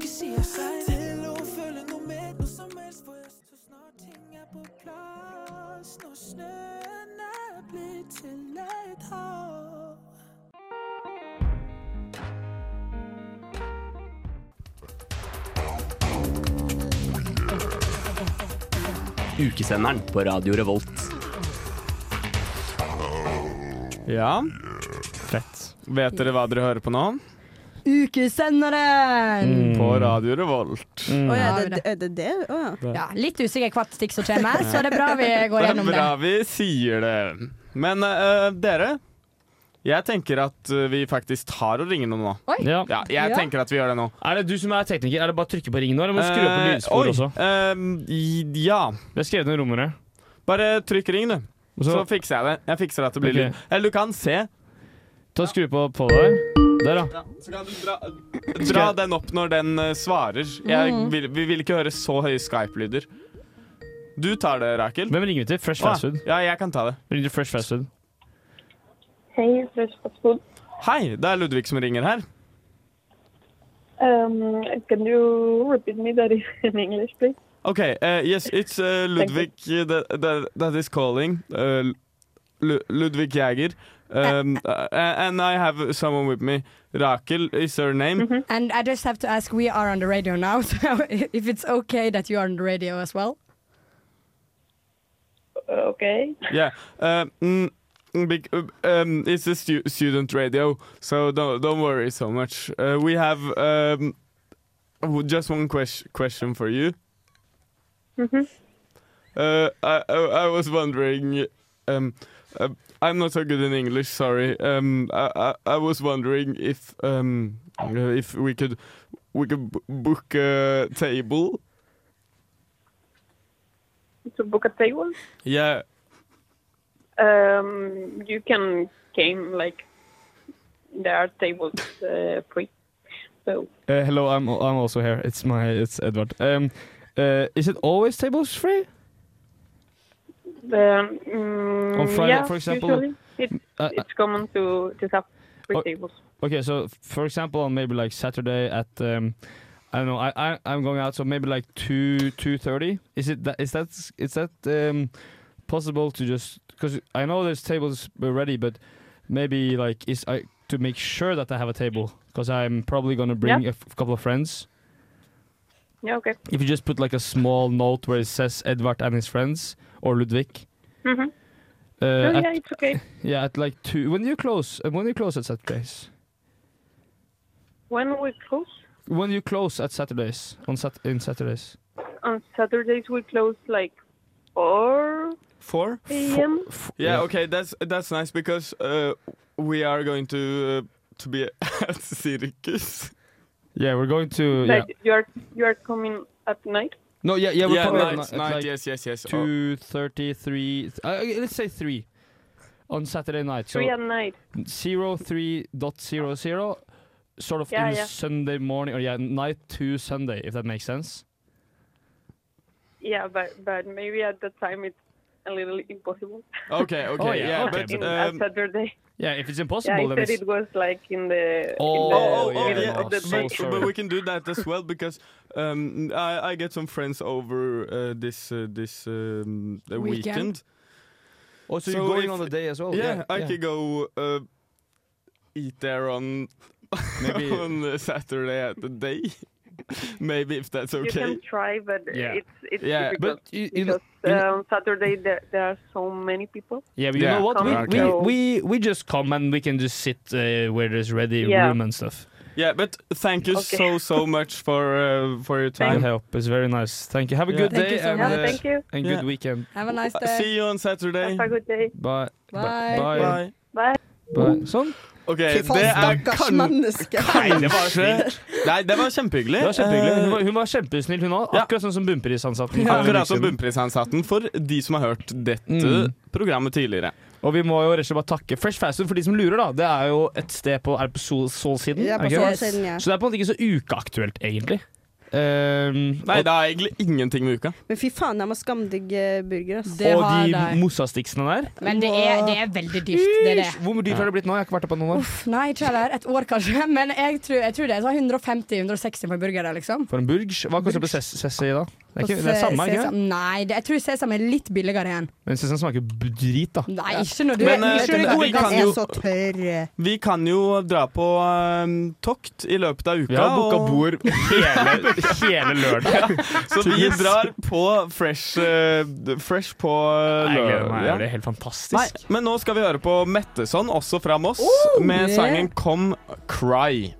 Ukesenderen på Radio Revolt.
Ja. Fett. Vet dere hva dere hører på nå?
Ukesenderen!
Mm, På Radio Revolt.
Mm.
Mm.
Å ja, det, er det det? Å ja.
Ja, litt usikker hvert stikk som kommer, så det er bra vi går gjennom
Det
det.
er bra vi sier det. Men eh, dere, jeg tenker at eh, vi faktisk tar og ringer noen nå.
Oi.
Ja, jeg
Ja.
tenker at vi gjør det nå.
Er det du som er tekniker? Er det bare å trykke på ringen nå? Eller må du skru opp på
Eh,
lydspor
oi,
også?
ja.
Vi har skrevet ned rommere.
Bare trykk ring, du. Så,
så-
fikser jeg det. Jeg fikser at det blir
Ok.
lyd. Eller du kan se.
Ta og Skru på på der. Der, da.
Så kan du dra, dra den opp når den eh, svarer. Jeg
Mm.
Mhm.
vil, vi vil ikke høre så høye Skype-lyder. Du tar det, Rakel.
Hvem ringer vi til? Fresh Fast
Å,
Food?
Ja, jeg kan ta det.
Ringer du Fresh Fast Food?
Hei, Fresh Fast Food.
Hei, det er Ludvig som ringer her.
Um, can you repeat me that in English, please?
Ok, eh, yes, it's eh, Ludvig that, that, that is calling. eh, Lu- Ludvig Jæger Um, uh, and I have someone with me. Rakel is her name.
Mhm. And I just have to ask, we are on the radio now, so if it's okay that you are on the radio as well?
Okay.
Yeah. Um, mm, bec- um, it's a stu- student radio, so don't don't worry so much. Uh, we have um, w- just one ques- question for you.
Mhm.
Uh, I, I I was wondering. Um, uh, I'm not so good in English. Sorry. Um, I, I I was wondering if um uh, if we could we could b- book a table.
To book a table,
Yeah.
um, you can came like there are tables uh, free. So
Uh, hello, I'm I'm also here. It's my it's Edward. Um, uh, is it always tables free?
um, mm,
On Friday,
yeah,
for example,
usually it,
uh,
it's common to to have free
Oh.
tables.
Okay, so for example, on maybe like Saturday at um, I don't know, I, I I'm going out, so maybe like two two thirty. Is it that is that is that um, possible to just because I know there's tables ready, but maybe like is I to make sure that I have a table because I'm probably gonna bring
Yeah.
a f- couple of friends.
Yeah, okay.
If you just put like a small note where it says Edvard and his friends or Ludvig.
Mhm.
Uh,
No,
at-
yeah, it's okay.
Yeah, at like two. When do you close? uh, When do you close at Saturdays?
When we close
When do you close at Saturdays? On sat in Saturdays.
on Saturdays, we close like four
Four.
a.m.
Yeah, okay, that's that's nice because uh, we are going to uh, to be at
Oh,
Circus.
Yeah, we're going to. Yeah.
Like you are you are coming at night.
No, yeah, yeah, we're
Yeah,
coming
night,
at
night,
like
yes, yes, yes. Oh.
Two thirty, three. th- Uh, okay, let's say three. On Saturday night. So
Three at night.
Zero three dot zero zero. Sort of
Yeah,
in
yeah.
Sunday morning or yeah, night to Sunday, if that makes sense.
Yeah, but but maybe at that time it's a little impossible.
Okay, okay,
Oh, yeah,
yeah,
okay,
but,
but-
In, at
um,
Saturday.
Yeah, if it's
yeah,
impossible,
I
then
said
it's
it was like in the. in
Oh,
the
oh, oh,
middle
yeah,
of the
but,
day.
but- but we can do that as well because um, I, I get some friends over uh, this uh, this um, uh,
Weekend.
weekend.
Oh, so you're going on the day as well?
Yeah,
Yeah,
I
yeah.
could go uh, eat there on
Maybe-
on uh, Saturday at the day. Maybe if that's
You
okay.
can try, but
Yeah.
it's it's
Yeah,
difficult
but you- you know-
because um, Saturday there, there are so many people.
Yeah, but you know what? We,
coming,
we,
so-
we, we just come and we can just sit uh, where there's ready
Yeah.
room and stuff.
Yeah, but thank you
Okay.
so so much for uh, for your time.
Thank- The help is very nice. Thank you. Have a
Yeah.
good
Thank
day
you so
and,
much.
uh,
Thank you.
and
Yeah.
good weekend.
Have a nice
Uh,
day.
See you on Saturday.
Have a good day.
Bye.
Bye.
Bye.
Bye.
Bye.
Bye. Sånn.
OK,
Fy faen,
det er
stakkars
kan-
menneske.
Kanskje Nei, det var kjempehyggelig.
Det var kjempehyggelig.
Eh,
Hun var, hun var kjempesnill, hun òg. Akkurat sånn som bunnprisansatten. for noen
Akkurat
uker
som
siden.
bunnprisansatten for de som har hørt dette
liksom- Mm.
programmet tidligere.
Og vi må jo rett og slett bare takke Fresh Fast Food for de som lurer, da. Det er jo et sted på, er det på sol, Solsiden.
Ja, på
er det ikke det?
Solsiden, ja.
Så det er på en måte ikke så ukeaktuelt, egentlig. Um,
Nei, det er egentlig ingenting med uka.
Men fy faen, de har skamdigg eh, burger, ass.
og de mossastiksene der.
Men det er, det er veldig dyrt, det er det.
Hvor dyrt har det blitt nå? Jeg har ikke vært der på noen år.
Uff, nei, ikke heller. Et år kanskje. Men jeg tror, jeg tror det er sånn 150-160 på burger, liksom.
For en burge. Hva koster det på ses- Sessi da? Det er, ikke, det er
Og se-
samme, ikke
sesam-
det?
Nei, det, jeg tror sesam er litt billigere igjen.
Men Sesam sånn smaker b- drit, da.
Nei, ikke når du
Men, eh,
ikke når du
vi
går i gang.
kan jo-
tørr.
Vi kan jo dra på eh, tokt i løpet av uka.
Vi har booka
og-
bord hele, hele lørdag.
Så vi drar på fresh, eh, fresh på
Jeg gleder meg.
lørdag.
Det er helt
Nei,
fantastisk.
men nå skal vi høre på Metteson, også fra Moss,
Oh,
med
yeah.
sangen Come Cry.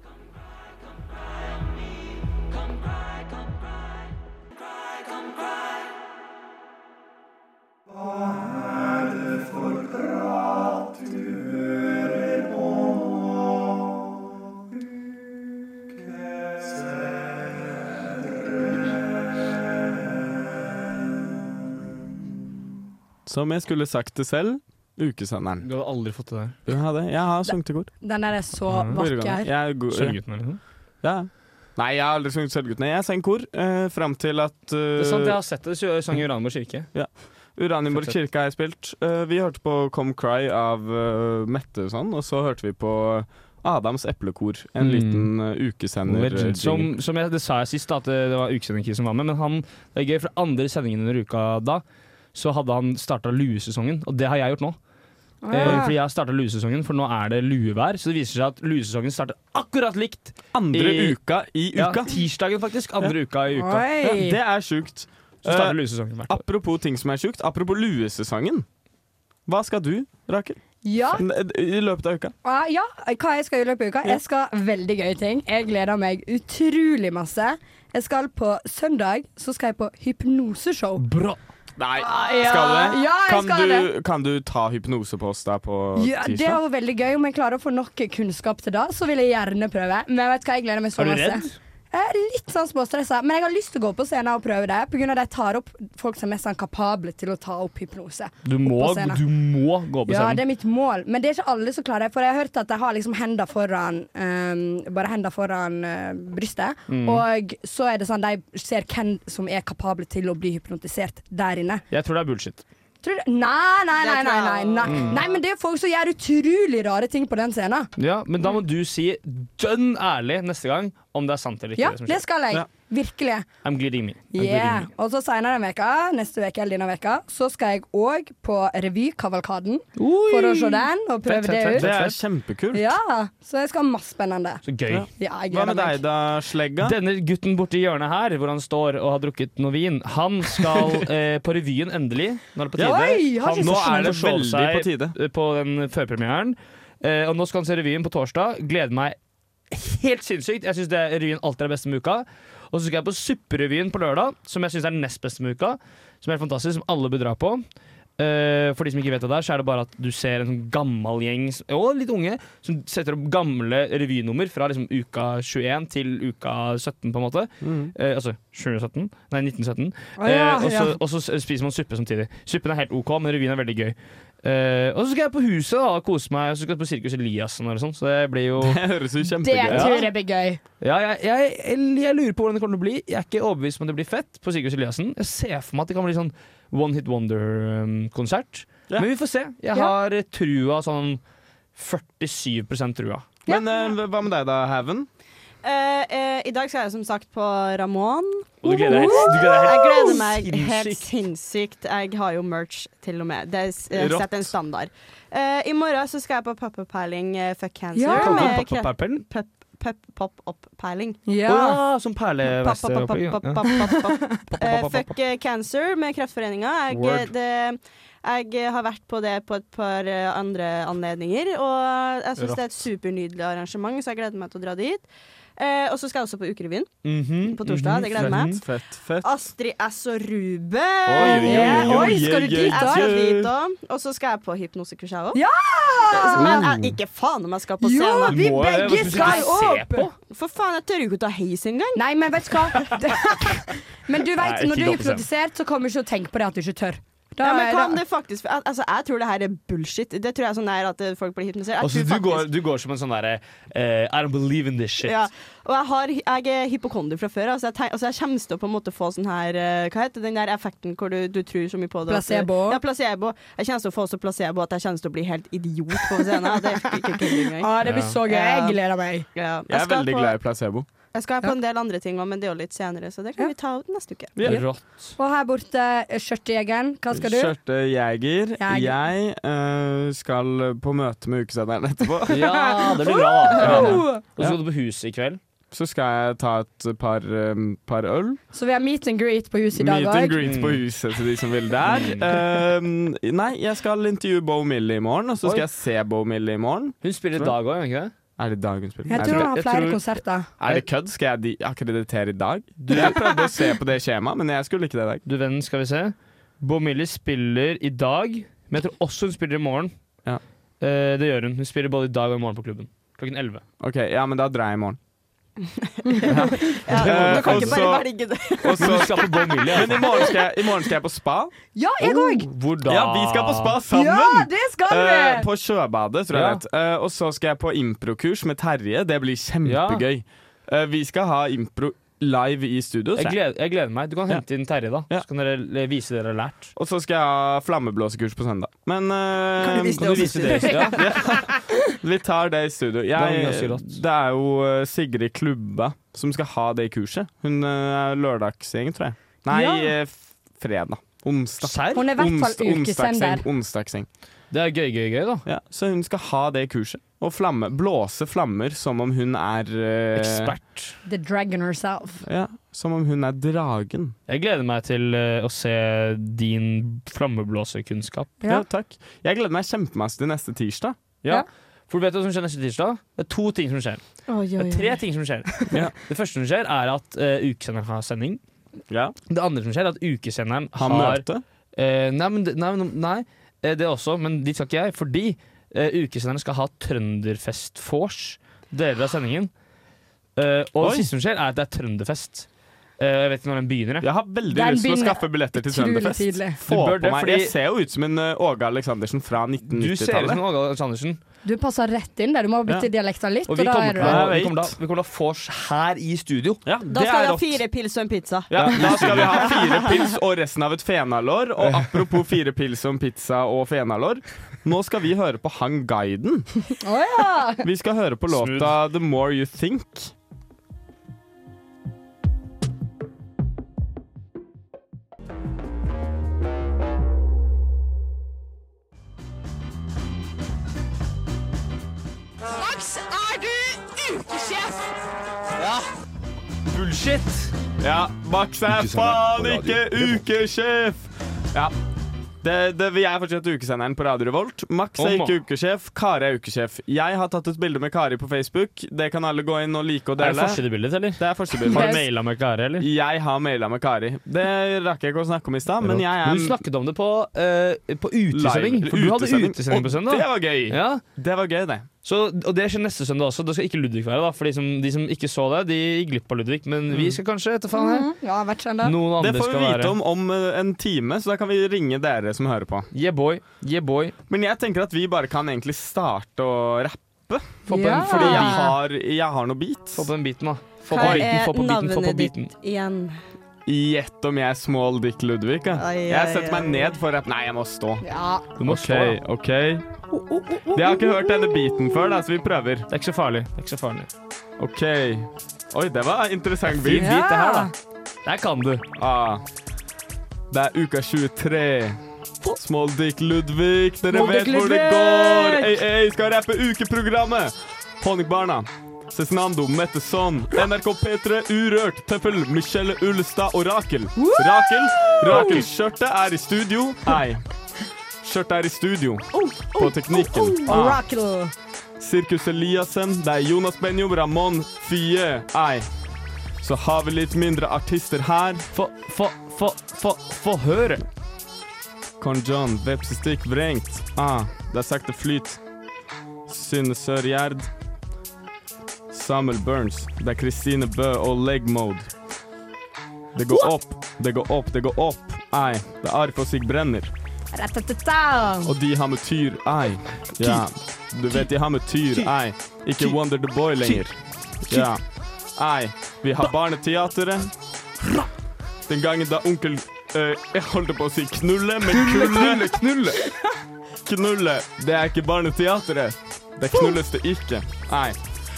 Som jeg skulle sagt det selv, ukesenderen.
Du hadde aldri fått det der.
Jeg har, det. Jeg har sunget i kor.
Den der er så
Mm.
Forrige gang.
vakker.
Jeg er god-
Sølvguttene, liksom?
Ja. Nei, jeg har aldri sunget Sølvguttene. Jeg sang kor uh, fram til at eh,
Det er sant, jeg har sett det. Du sang i Uranborg kirke.
Ja. Uranienborg kirke har jeg spilt. Eh, vi hørte på Come Cry av eh, Mette og sånn, og så hørte vi på Adams eplekor. En
Mm.
liten eh, ukesender. eh,
Legend. Som,
jingle.
som jeg, det sa jeg sist, da, at det det var ukesending Chris som var med, men han, det er gøy, for andre sendingen under uka da, så hadde han starta luesesongen, og det har jeg gjort nå. Eh, Fordi jeg starta luesesongen, for nå er det luevær. Så det viser seg at luesesongen starter akkurat likt.
Andre uka i
Ja,
uka.
tirsdagen faktisk. Andre uka i uka.
Oi.
Ja, det er sjukt. Så
Eh,
starter luesesongen hvert år.
Apropos ting som er sjukt, apropos luesesongen. Hva skal du, Rakel?
Ja.
N- I løpet av uka?
Ah, ja, hva jeg skal i løpet av uka? Jeg skal veldig gøye ting. Jeg gleder meg utrolig masse. Jeg skal på søndag så skal jeg på hypnoseshow.
Bra.
Nei,
Ah, ja.
skal du det?
Ja, jeg
kan,
skal
du, kan du ta hypnose på oss der på
Ja, det
tirsdag?
var veldig gøy. Om jeg klarer å få nok kunnskap til det, så vil jeg gjerne prøve. Men vet du hva, jeg gleder meg så
Er du
masse.
redd?
Jeg er litt sånn småstressa, men jeg har lyst til å gå på scenen og prøve det. Pga. at de tar opp folk som er sånn kapable til å ta opp hypnose.
Du må,
opp på scenen.
du må gå på
Ja, det
scenen.
er mitt mål, men det er ikke alle som klarer det. For jeg har hørt at de har liksom henda foran ehm, Bare henda foran eh, brystet.
Mm.
Og så er det sånn de ser hvem som er kapable til å bli hypnotisert der inne.
Jeg tror det er bullshit.
Tror du? Nei, nei, nei, nei, nei, nei.
Mm.
nei. Men det er folk som gjør utrolig rare ting på den scenen.
Ja, Men da må
Mm.
du si dønn ærlig neste gang om det er sant eller ikke.
Ja,
som
det
skjer.
skal jeg.
Ja.
Virkelig.
I'm gliding me. I'm gliding
Yeah.
me.
Og så seinere den veka, neste veke eller denne veka, så skal jeg òg på revykavalkaden. For å se den og prøve
Fett,
det
fett, fett,
ut.
Det er kjempekult.
Ja, så jeg skal ha masse spennende.
Så gøy.
Ja,
Hva
jeg gleder
med
meg.
deg da, Slegga?
Denne gutten borti hjørnet her, hvor han står og har drukket noe vin, han skal eh, på revyen endelig. Nå er det på
Ja.
tide.
Oi, har
han
ikke
nå
sett
er det
den.
show
Veldig
seg
på tide.
eh, på den førpremieren. Eh, og nå skal han se revyen på torsdag. Gleder meg helt sinnssykt. Jeg syns revyen alltid er beste med uka. Og så skal jeg på Supperevyen på lørdag, som jeg syns er nest beste med uka. Som er helt fantastisk, som alle bør dra på. Eh, for de som ikke vet hva det er, så er det bare at du ser en sånn gammel gjeng, s- og litt unge, som setter opp gamle revynummer fra liksom uka 21 til uka 17, på en måte. Eh, altså 2017, nei
Mhm.
1917.
Å, ja,
Eh, og, så,
ja.
og så s- spiser man suppe samtidig. Suppen er helt OK, men revyen er veldig gøy. Eh, og så skal jeg på Huset da, og kose meg, og så skal jeg på Sirkus Eliassen og sånn, så det blir jo Det
høres jo
Det tror jeg blir gøy.
ja, jeg, jeg, jeg, jeg lurer på hvordan det kommer til å bli. Jeg er ikke overbevist om at det blir fett på Sigurd Eliassen. Jeg ser for meg at det kan bli sånn One Hit Wonder-konsert. Men vi får se. Jeg har trua sånn 47 trua.
Men eh, hva med deg da, Haven?
Eh, eh, I dag skal jeg som sagt på Ramón.
Og du gleder deg helt- du gleder deg
jeg
helt
gleder meg helt
sinnssykt.
sinnssykt. Jeg har jo merch, til og med. Det er s- eh,
Rått.
setter en standard. Eh, I morgen så skal jeg på pop-up-perling eh, Fuck Cancer.
Ja. Kalte du
med
det pop-up-perling?
kre- pep- pep- Pop-up-perling.
Å, som perleveste.
Pop, pop, pop,
opplegg,
pop,
ja.
pop, Eh, Fuck eh, Cancer med Kreftforeninga. Jeg,
Word.
det, jeg eh, har vært på det på et par eh, andre anledninger, og jeg syns det er et supernydelig arrangement, så jeg gleder meg til å dra dit. Eh, og så skal jeg også på Ukerevyen. På torsdag, det gleder jeg meg.
Mhm. Fett, fett.
Ah,
Astrid S og Ruben!
Oi, oi, oi, oi, Oi, skal du dit
Jeg skal
også?
dit også. Og så skal jeg på hypnosekurs, jeg òg.
Ja!
Men jeg, ikke faen om jeg skal på
Jo,
scenen.
vi Må jeg? begge Hva skal du skal se opp.
For faen, jeg tør jo ikke å ta heis engang.
Nei, men vet du hva? Men du
Nei,
vet,
ikke gå på
når du er
scenen.
hypnotisert, så kommer du ikke å tenke på det at du ikke tør. Da
ja, men
er
hva
det-
om det faktisk al- Altså, Jeg tror det her er bullshit. Det tror jeg sånn er at eh, folk blir hypnotisert.
Og
Altså,
så Altså, du,
Jeg tror faktisk,
går- du går som en sånn derre eh, I don't believe in this shit.
ja. Og jeg, har, jeg er hypokonder fra før. Altså jeg, tenk, altså jeg kommer til å på en måte få sånn her eh, Hva heter den der effekten hvor du, du tror så mye på det? at du-
Placebo.
Ja, placebo. Jeg kommer til å få så placebo at jeg kommer til å bli helt idiot på scenen. Det er ikke ikke kødd engang.
Ja, Ah, det blir så gøy. Jeg gleder meg.
Ja.
Jeg er
skal
veldig
på-
glad i placebo.
Jeg skal på en del andre ting òg, men det er jo litt senere, så det kan vi ta neste uke.
Og her borte, eh, skjørtejegeren, hva skal du?
Skjørtejeger.
Jeg-
Jeg eh, skal på møte med ukesenderen etterpå.
Ja, det blir bra.
Ja.
Og
Ja.
så skal du på Huset i kveld.
Så skal jeg ta et par, eh, par øl.
Så vi har meet and greet på huset i dag
Meet and
òg.
greet på huset til de som vil der. Eh, nei, jeg skal intervjue Bo Millie i morgen, og så skal
Oi.
jeg se Bo Millie i morgen.
Hun spiller i dag òg, ikke det?
Er det i dag hun spiller?
Jeg
Nei,
tror han har
jeg
flere
tror-
konserter.
Er det kødd? Skal jeg di- akkreditere i dag? Jeg prøvde å se på det skjemaet, men jeg skulle ikke det i dag.
Du vennen, skal vi se. Bo Millie spiller i dag, men jeg tror også hun spiller i morgen. Eh, det gjør hun. Hun spiller både i dag og i morgen på klubben. Klokken 11.
Ok, ja, men da drar jeg i morgen.
Ja,
Eh,
du kan ikke
og
bare
så-
velge det.
og så-
Du skal på Bo Millie, altså.
Men i morgen skal jeg, i morgen skal jeg på spa.
Ja, jeg òg!
Hvor da?
Oh, Ja, vi skal på spa sammen!
Ja, det skal vi!
Eh, på Sjøbadet, tror jeg
Ja.
det het. Eh, og så skal jeg på improkurs med Terje. Det blir kjempegøy. Eh, vi skal ha impro live i studio.
Jeg
så-
gleder, jeg gleder meg. Du kan hente inn Terje, da. Så kan dere le- vise det dere har lært.
Og så skal jeg ha flammeblåsekurs på søndag. Men eh,
Kan du vise det Kan du også i vise det studio? også,
Vi tar det i studio.
Det
Jeg,
var ganske rått.
det er jo eh, Sigrid Klubba som skal ha det kurset. Hun eh, er lørdagsgjeng, tror jeg. Nei,
Ja.
eh, f- fredag. Onsdag.
Hun er i hvert fall
Onsdag-
ukesender.
onsdagsgjeng, Onsdagsgjeng.
Det er gøy, gøy, gøy, da.
Ja, så hun skal ha det kurset. Og flamme, blåse flammer som om hun er eh,
Ekspert.
The dragon herself.
Ja, som om hun er dragen.
Jeg gleder meg til eh, å se din flammeblåserkunnskap.
Ja. takk. Jeg gleder meg kjempemasse til neste tirsdag.
Ja. For vet du hva som skjer neste tirsdag? Det er to ting som skjer.
Oi, oi,
Det er tre
oi.
ting som skjer. Det første som skjer, er at uh, ukesenderen har sending. Det andre som skjer, er at ukesenderen
Har møte?
Eh, nei, men, det- nei, men- nei eh, det også, men dit skal ikke jeg. Fordi eh, ukesenderen skal ha Trønderfest-vors deler av sendingen. Eh,
Oi.
og det siste som skjer, er at det er Trønderfest. Eh, jeg vet ikke når den begynner. Jeg
har veldig lyst til å skaffe billetter til Trønderfest. Få på meg. Jeg ser jo ut som en eh, Åge Aleksandersen fra
Du
1990-tallet.
ser ut som Åge Aleksandersen.
Du passer rett inn der. Du må bytte
Ja.
dialekta litt.
Og vi
da
kommer
er
til
du
å-
der.
vi kommer til å- vi kommer til å ha vors her i studio.
Da skal vi ha fire pils og en pizza.
Ja, da skal vi ha fire pils og resten av et fenalår. Og apropos fire pils om pizza og fenalår, nå skal vi høre på Han Guiden.
Å ja!
Vi skal høre på låta The More You Think.
Max, er du ukesjef?
Ja. Bullshit! Ja, Max er
Ukesenderen
faen
på
ikke
Radio
ukesjef! Ja. Det, det, vi er fortsatt ukesenderen på Radio Revolt. Max er
Om
ikke ukesjef, Kari er ukesjef. Jeg har tatt et bilde med Kari på Facebook. Det kan alle gå inn og like og
Er det
dele.
forsidebildet, eller?
Det er forsidebildet.
Har du maila med Kari, eller?
Jeg har maila med Kari. Det rakk jeg ikke å snakke om i stad, men jeg er
Du snakket om det på, eh, på utesending.
Live-
For du hadde
utesending.
utesending på
Og
søndag.
det var gøy.
Ja.
Det var gøy, det.
Så, og det skjer neste søndag også. Da skal ikke Ludvig være. da For de som, de som ikke så det, de gikk glipp av Ludvig. Men
Mm.
vi skal kanskje etter faen sånn her.
Mhm. Ja, hvert søndag.
Noen andre
det får vi
skal
vite
være
om om eh, en time, så da kan vi ringe dere som hører på.
Yeah boy, yeah boy
Men jeg tenker at vi bare kan egentlig starte å rappe.
Få på Ja. en-
Fordi jeg har, jeg har noe beat.
Få på den biten, da.
Få
Hva er navnet ditt igjen?
Gjett om jeg er small dick Ludvig. Ja.
Ai,
Jeg
ai,
setter meg
ai.
ned for rapp. Nei, jeg må stå.
Ja.
Du må stå,
OK, OK. Jeg har ikke hørt denne beaten før, da, så vi prøver. Det
er ikke så farlig. Det er ikke så farlig.
OK. Oi, det var interessant
Fin
beat.
beat, det her, da. Der kan du.
Ah. Det er uka 23. Small Dick Ludvig, dere
Small
vet
Dick
hvor det
Ludvig!
går. Ei, ei, skal rappe ukeprogrammet. Honningbarna. Cezinando, Metteson, NRK P3, Urørt, Pøppel, Michelle Ullestad og Rakel. Rakel, Rakel, skjørtet er i studio. Nei. Skjørtet er i studio. På teknikken.
oh,
Ah.
Oracle.
Sirkus Eliassen, det er Jonas Benjo, Ramón, Fie, ei. Så har vi litt mindre artister her.
Få, få, få, få, få høre.
Conjon, vepsestikk vrengt. Ah, det er sakte flyt. Synne Sør-Gjerd. Samuel Burns. Det er Kristine Bø og leg mode. Det går opp, det går opp, det går opp. Ei, det er Arif og Sig Brenner.
Ratatata.
Og de har med tyr, ei. Ja, du vet de har med tyr, ei. Ikke Wonder the Boy lenger. Ja. Ei, vi har Barneteatret. Den gangen da onkel eh, Jeg holdt på å si knulle, men
Knulle,
knulle, knulle. Knulle. Det er ikke Barneteatret. Det knulles det ikke. Nei.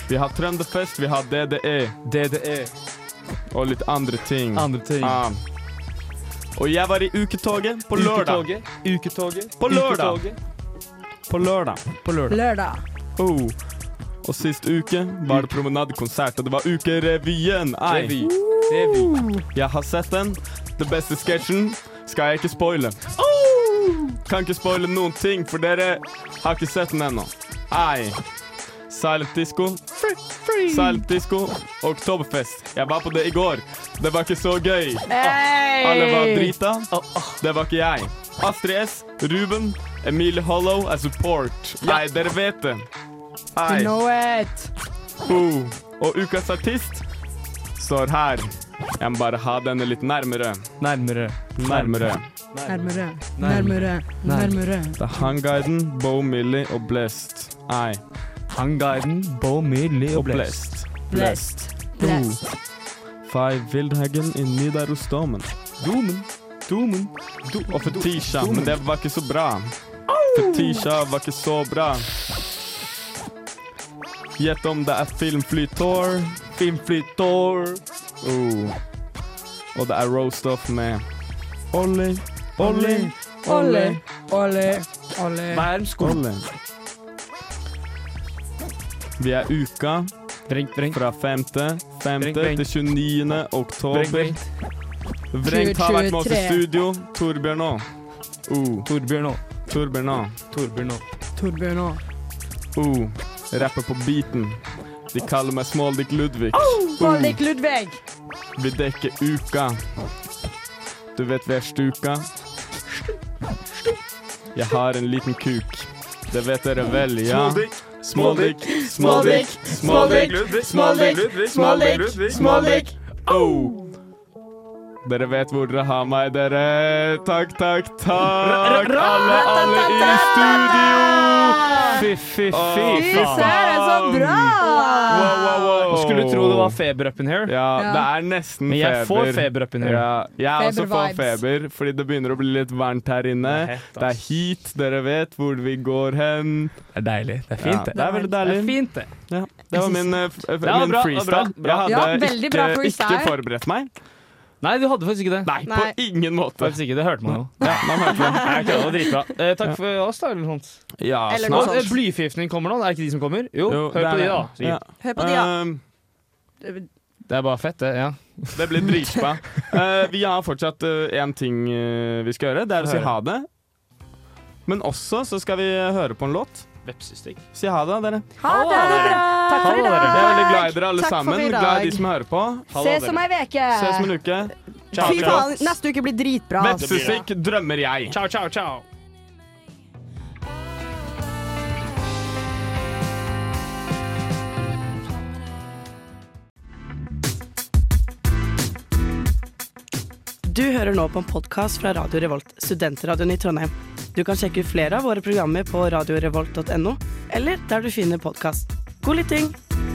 Vi har Trønderfest, vi har DDE. DDE. Og litt andre ting.
Andre ting.
Ja. Og jeg var i uketoget på lørdag.
Uketoget.
På lørdag. På lørdag. På
Lørdag.
Oh. Og sist uke var det promenadekonsert, og det var Ukerevyen. Ei.
Revy.
Jeg har sett den. Den beste sketsjen skal jeg ikke spoile. Kan ikke spoile noen ting, for dere har ikke sett den ennå. Ei. Silent disco. Silent disco. Oktoberfest. Jeg var på det i går. Det var ikke så gøy.
Hey.
Alle var drita. Det var ikke jeg. Astrid S, Ruben, Emilie Hollow er support. Nei, dere vet det. Ei.
You know it.
Oh, og ukas artist står her. Jeg må bare ha denne litt nærmere.
Nærmere.
Nærmere.
Nærmere,
Nærmere.
nærmere, nærmere.
Det er Hanguiden, Bo Millie og Blest. Ei.
Hanguiden, Bo Millie og
Blest.
Blest.
Blest. Oh. Five Wildhagen i Nidarosdomen. Domen. Domen. og Fetisha, men det var ikke så bra. Fetisha var ikke så bra. Gjett om det er Filmflytor. Filmflytor. Oh. Og det er Roast Off med Olli, Olli,
Olli, Olli, Olli.
Vi er uka fra 5.
Vrengt, vrengt.
til 29. oktober.
Vrengt, vrengt.
Vrengt har vært med oss i
23.
studio. Torbjørn Aa. O. Torbjørn Aa. Torbjørn Aa. Torbjørn
Torbjørn Aa.
O. Rapper på beaten. De kaller meg Smaldik Ludvig.
Baldik Ludvig.
Vi dekker uka. Du vet vi er stuka. Jeg har en liten kuk. Det vet dere vel, ja.
Smådikk,
Smådikk,
smådikk, smådikk, smådikk, smådikk, smådikk.
Oh. Dere vet hvor dere har meg, dere. Takk, takk,
Ra-
takk.
ra-
Alle,
ra-
alle i studio.
Fy, fy,
Fy
fy
søren, så bra! Wow, wow, wow.
Man skulle tro det var feber up in here.
Ja, det er nesten
Men jeg
feber.
får feber up in here.
Ja, jeg også får
Febervibes.
feber, fordi det begynner å bli litt varmt her inne.
Det er hett, ass.
Det er hit, dere vet hvor vi går hen. Det er deilig. Det
er fint, det.
Det er veldig deilig.
Det er fint, det.
Ja, det var min, eh, f-
Det
eh, min
var bra, det var bra,
freestyle.
bra.
Jeg
Ja,
hadde
veldig bra
ikke,
freestyle.
ikke forberedt meg.
Nei, du hadde faktisk ikke det. Nei,
På ingen måte.
Faktisk ikke, Det hørte man jo.
Ja, man hørte det.
Nei, ok, det var dritbra. Eh, takk for oss, da. Eller noe sånt.
Ja,
Eller
snart.
noe sånt. Blyforgiftning kommer nå, er det ikke de som kommer? Jo,
Jo,
hør
det er
på de,
det.
da. sikkert.
Ja. Hør på de, da. Um,
Det er bare fett, det. ja
Det blir dritbra. Eh, vi har fortsatt én ting eh, vi skal gjøre. Det er å si
Høre.
ha det. Men også så skal vi høre på en låt.
Vepsestikk.
Si ha det, dere.
Ha det bra. Takk for i dag.
Jeg er veldig glad i dere alle
Takk for
sammen.
i dag.
Glad i de som hører på.
Ses om ei veke.
Ses om en uke. Ciao,
Fy
ciao.
faen, neste uke blir dritbra. ass.
Vepsestikk drømmer jeg.
Ciao, ciao, ciao.
Du hører nå på en podkast fra Radio Revolt, studentradioen i Trondheim. Du kan sjekke ut flere av våre programmer på radiorevolt.no, eller der du finner podkast. God lytting!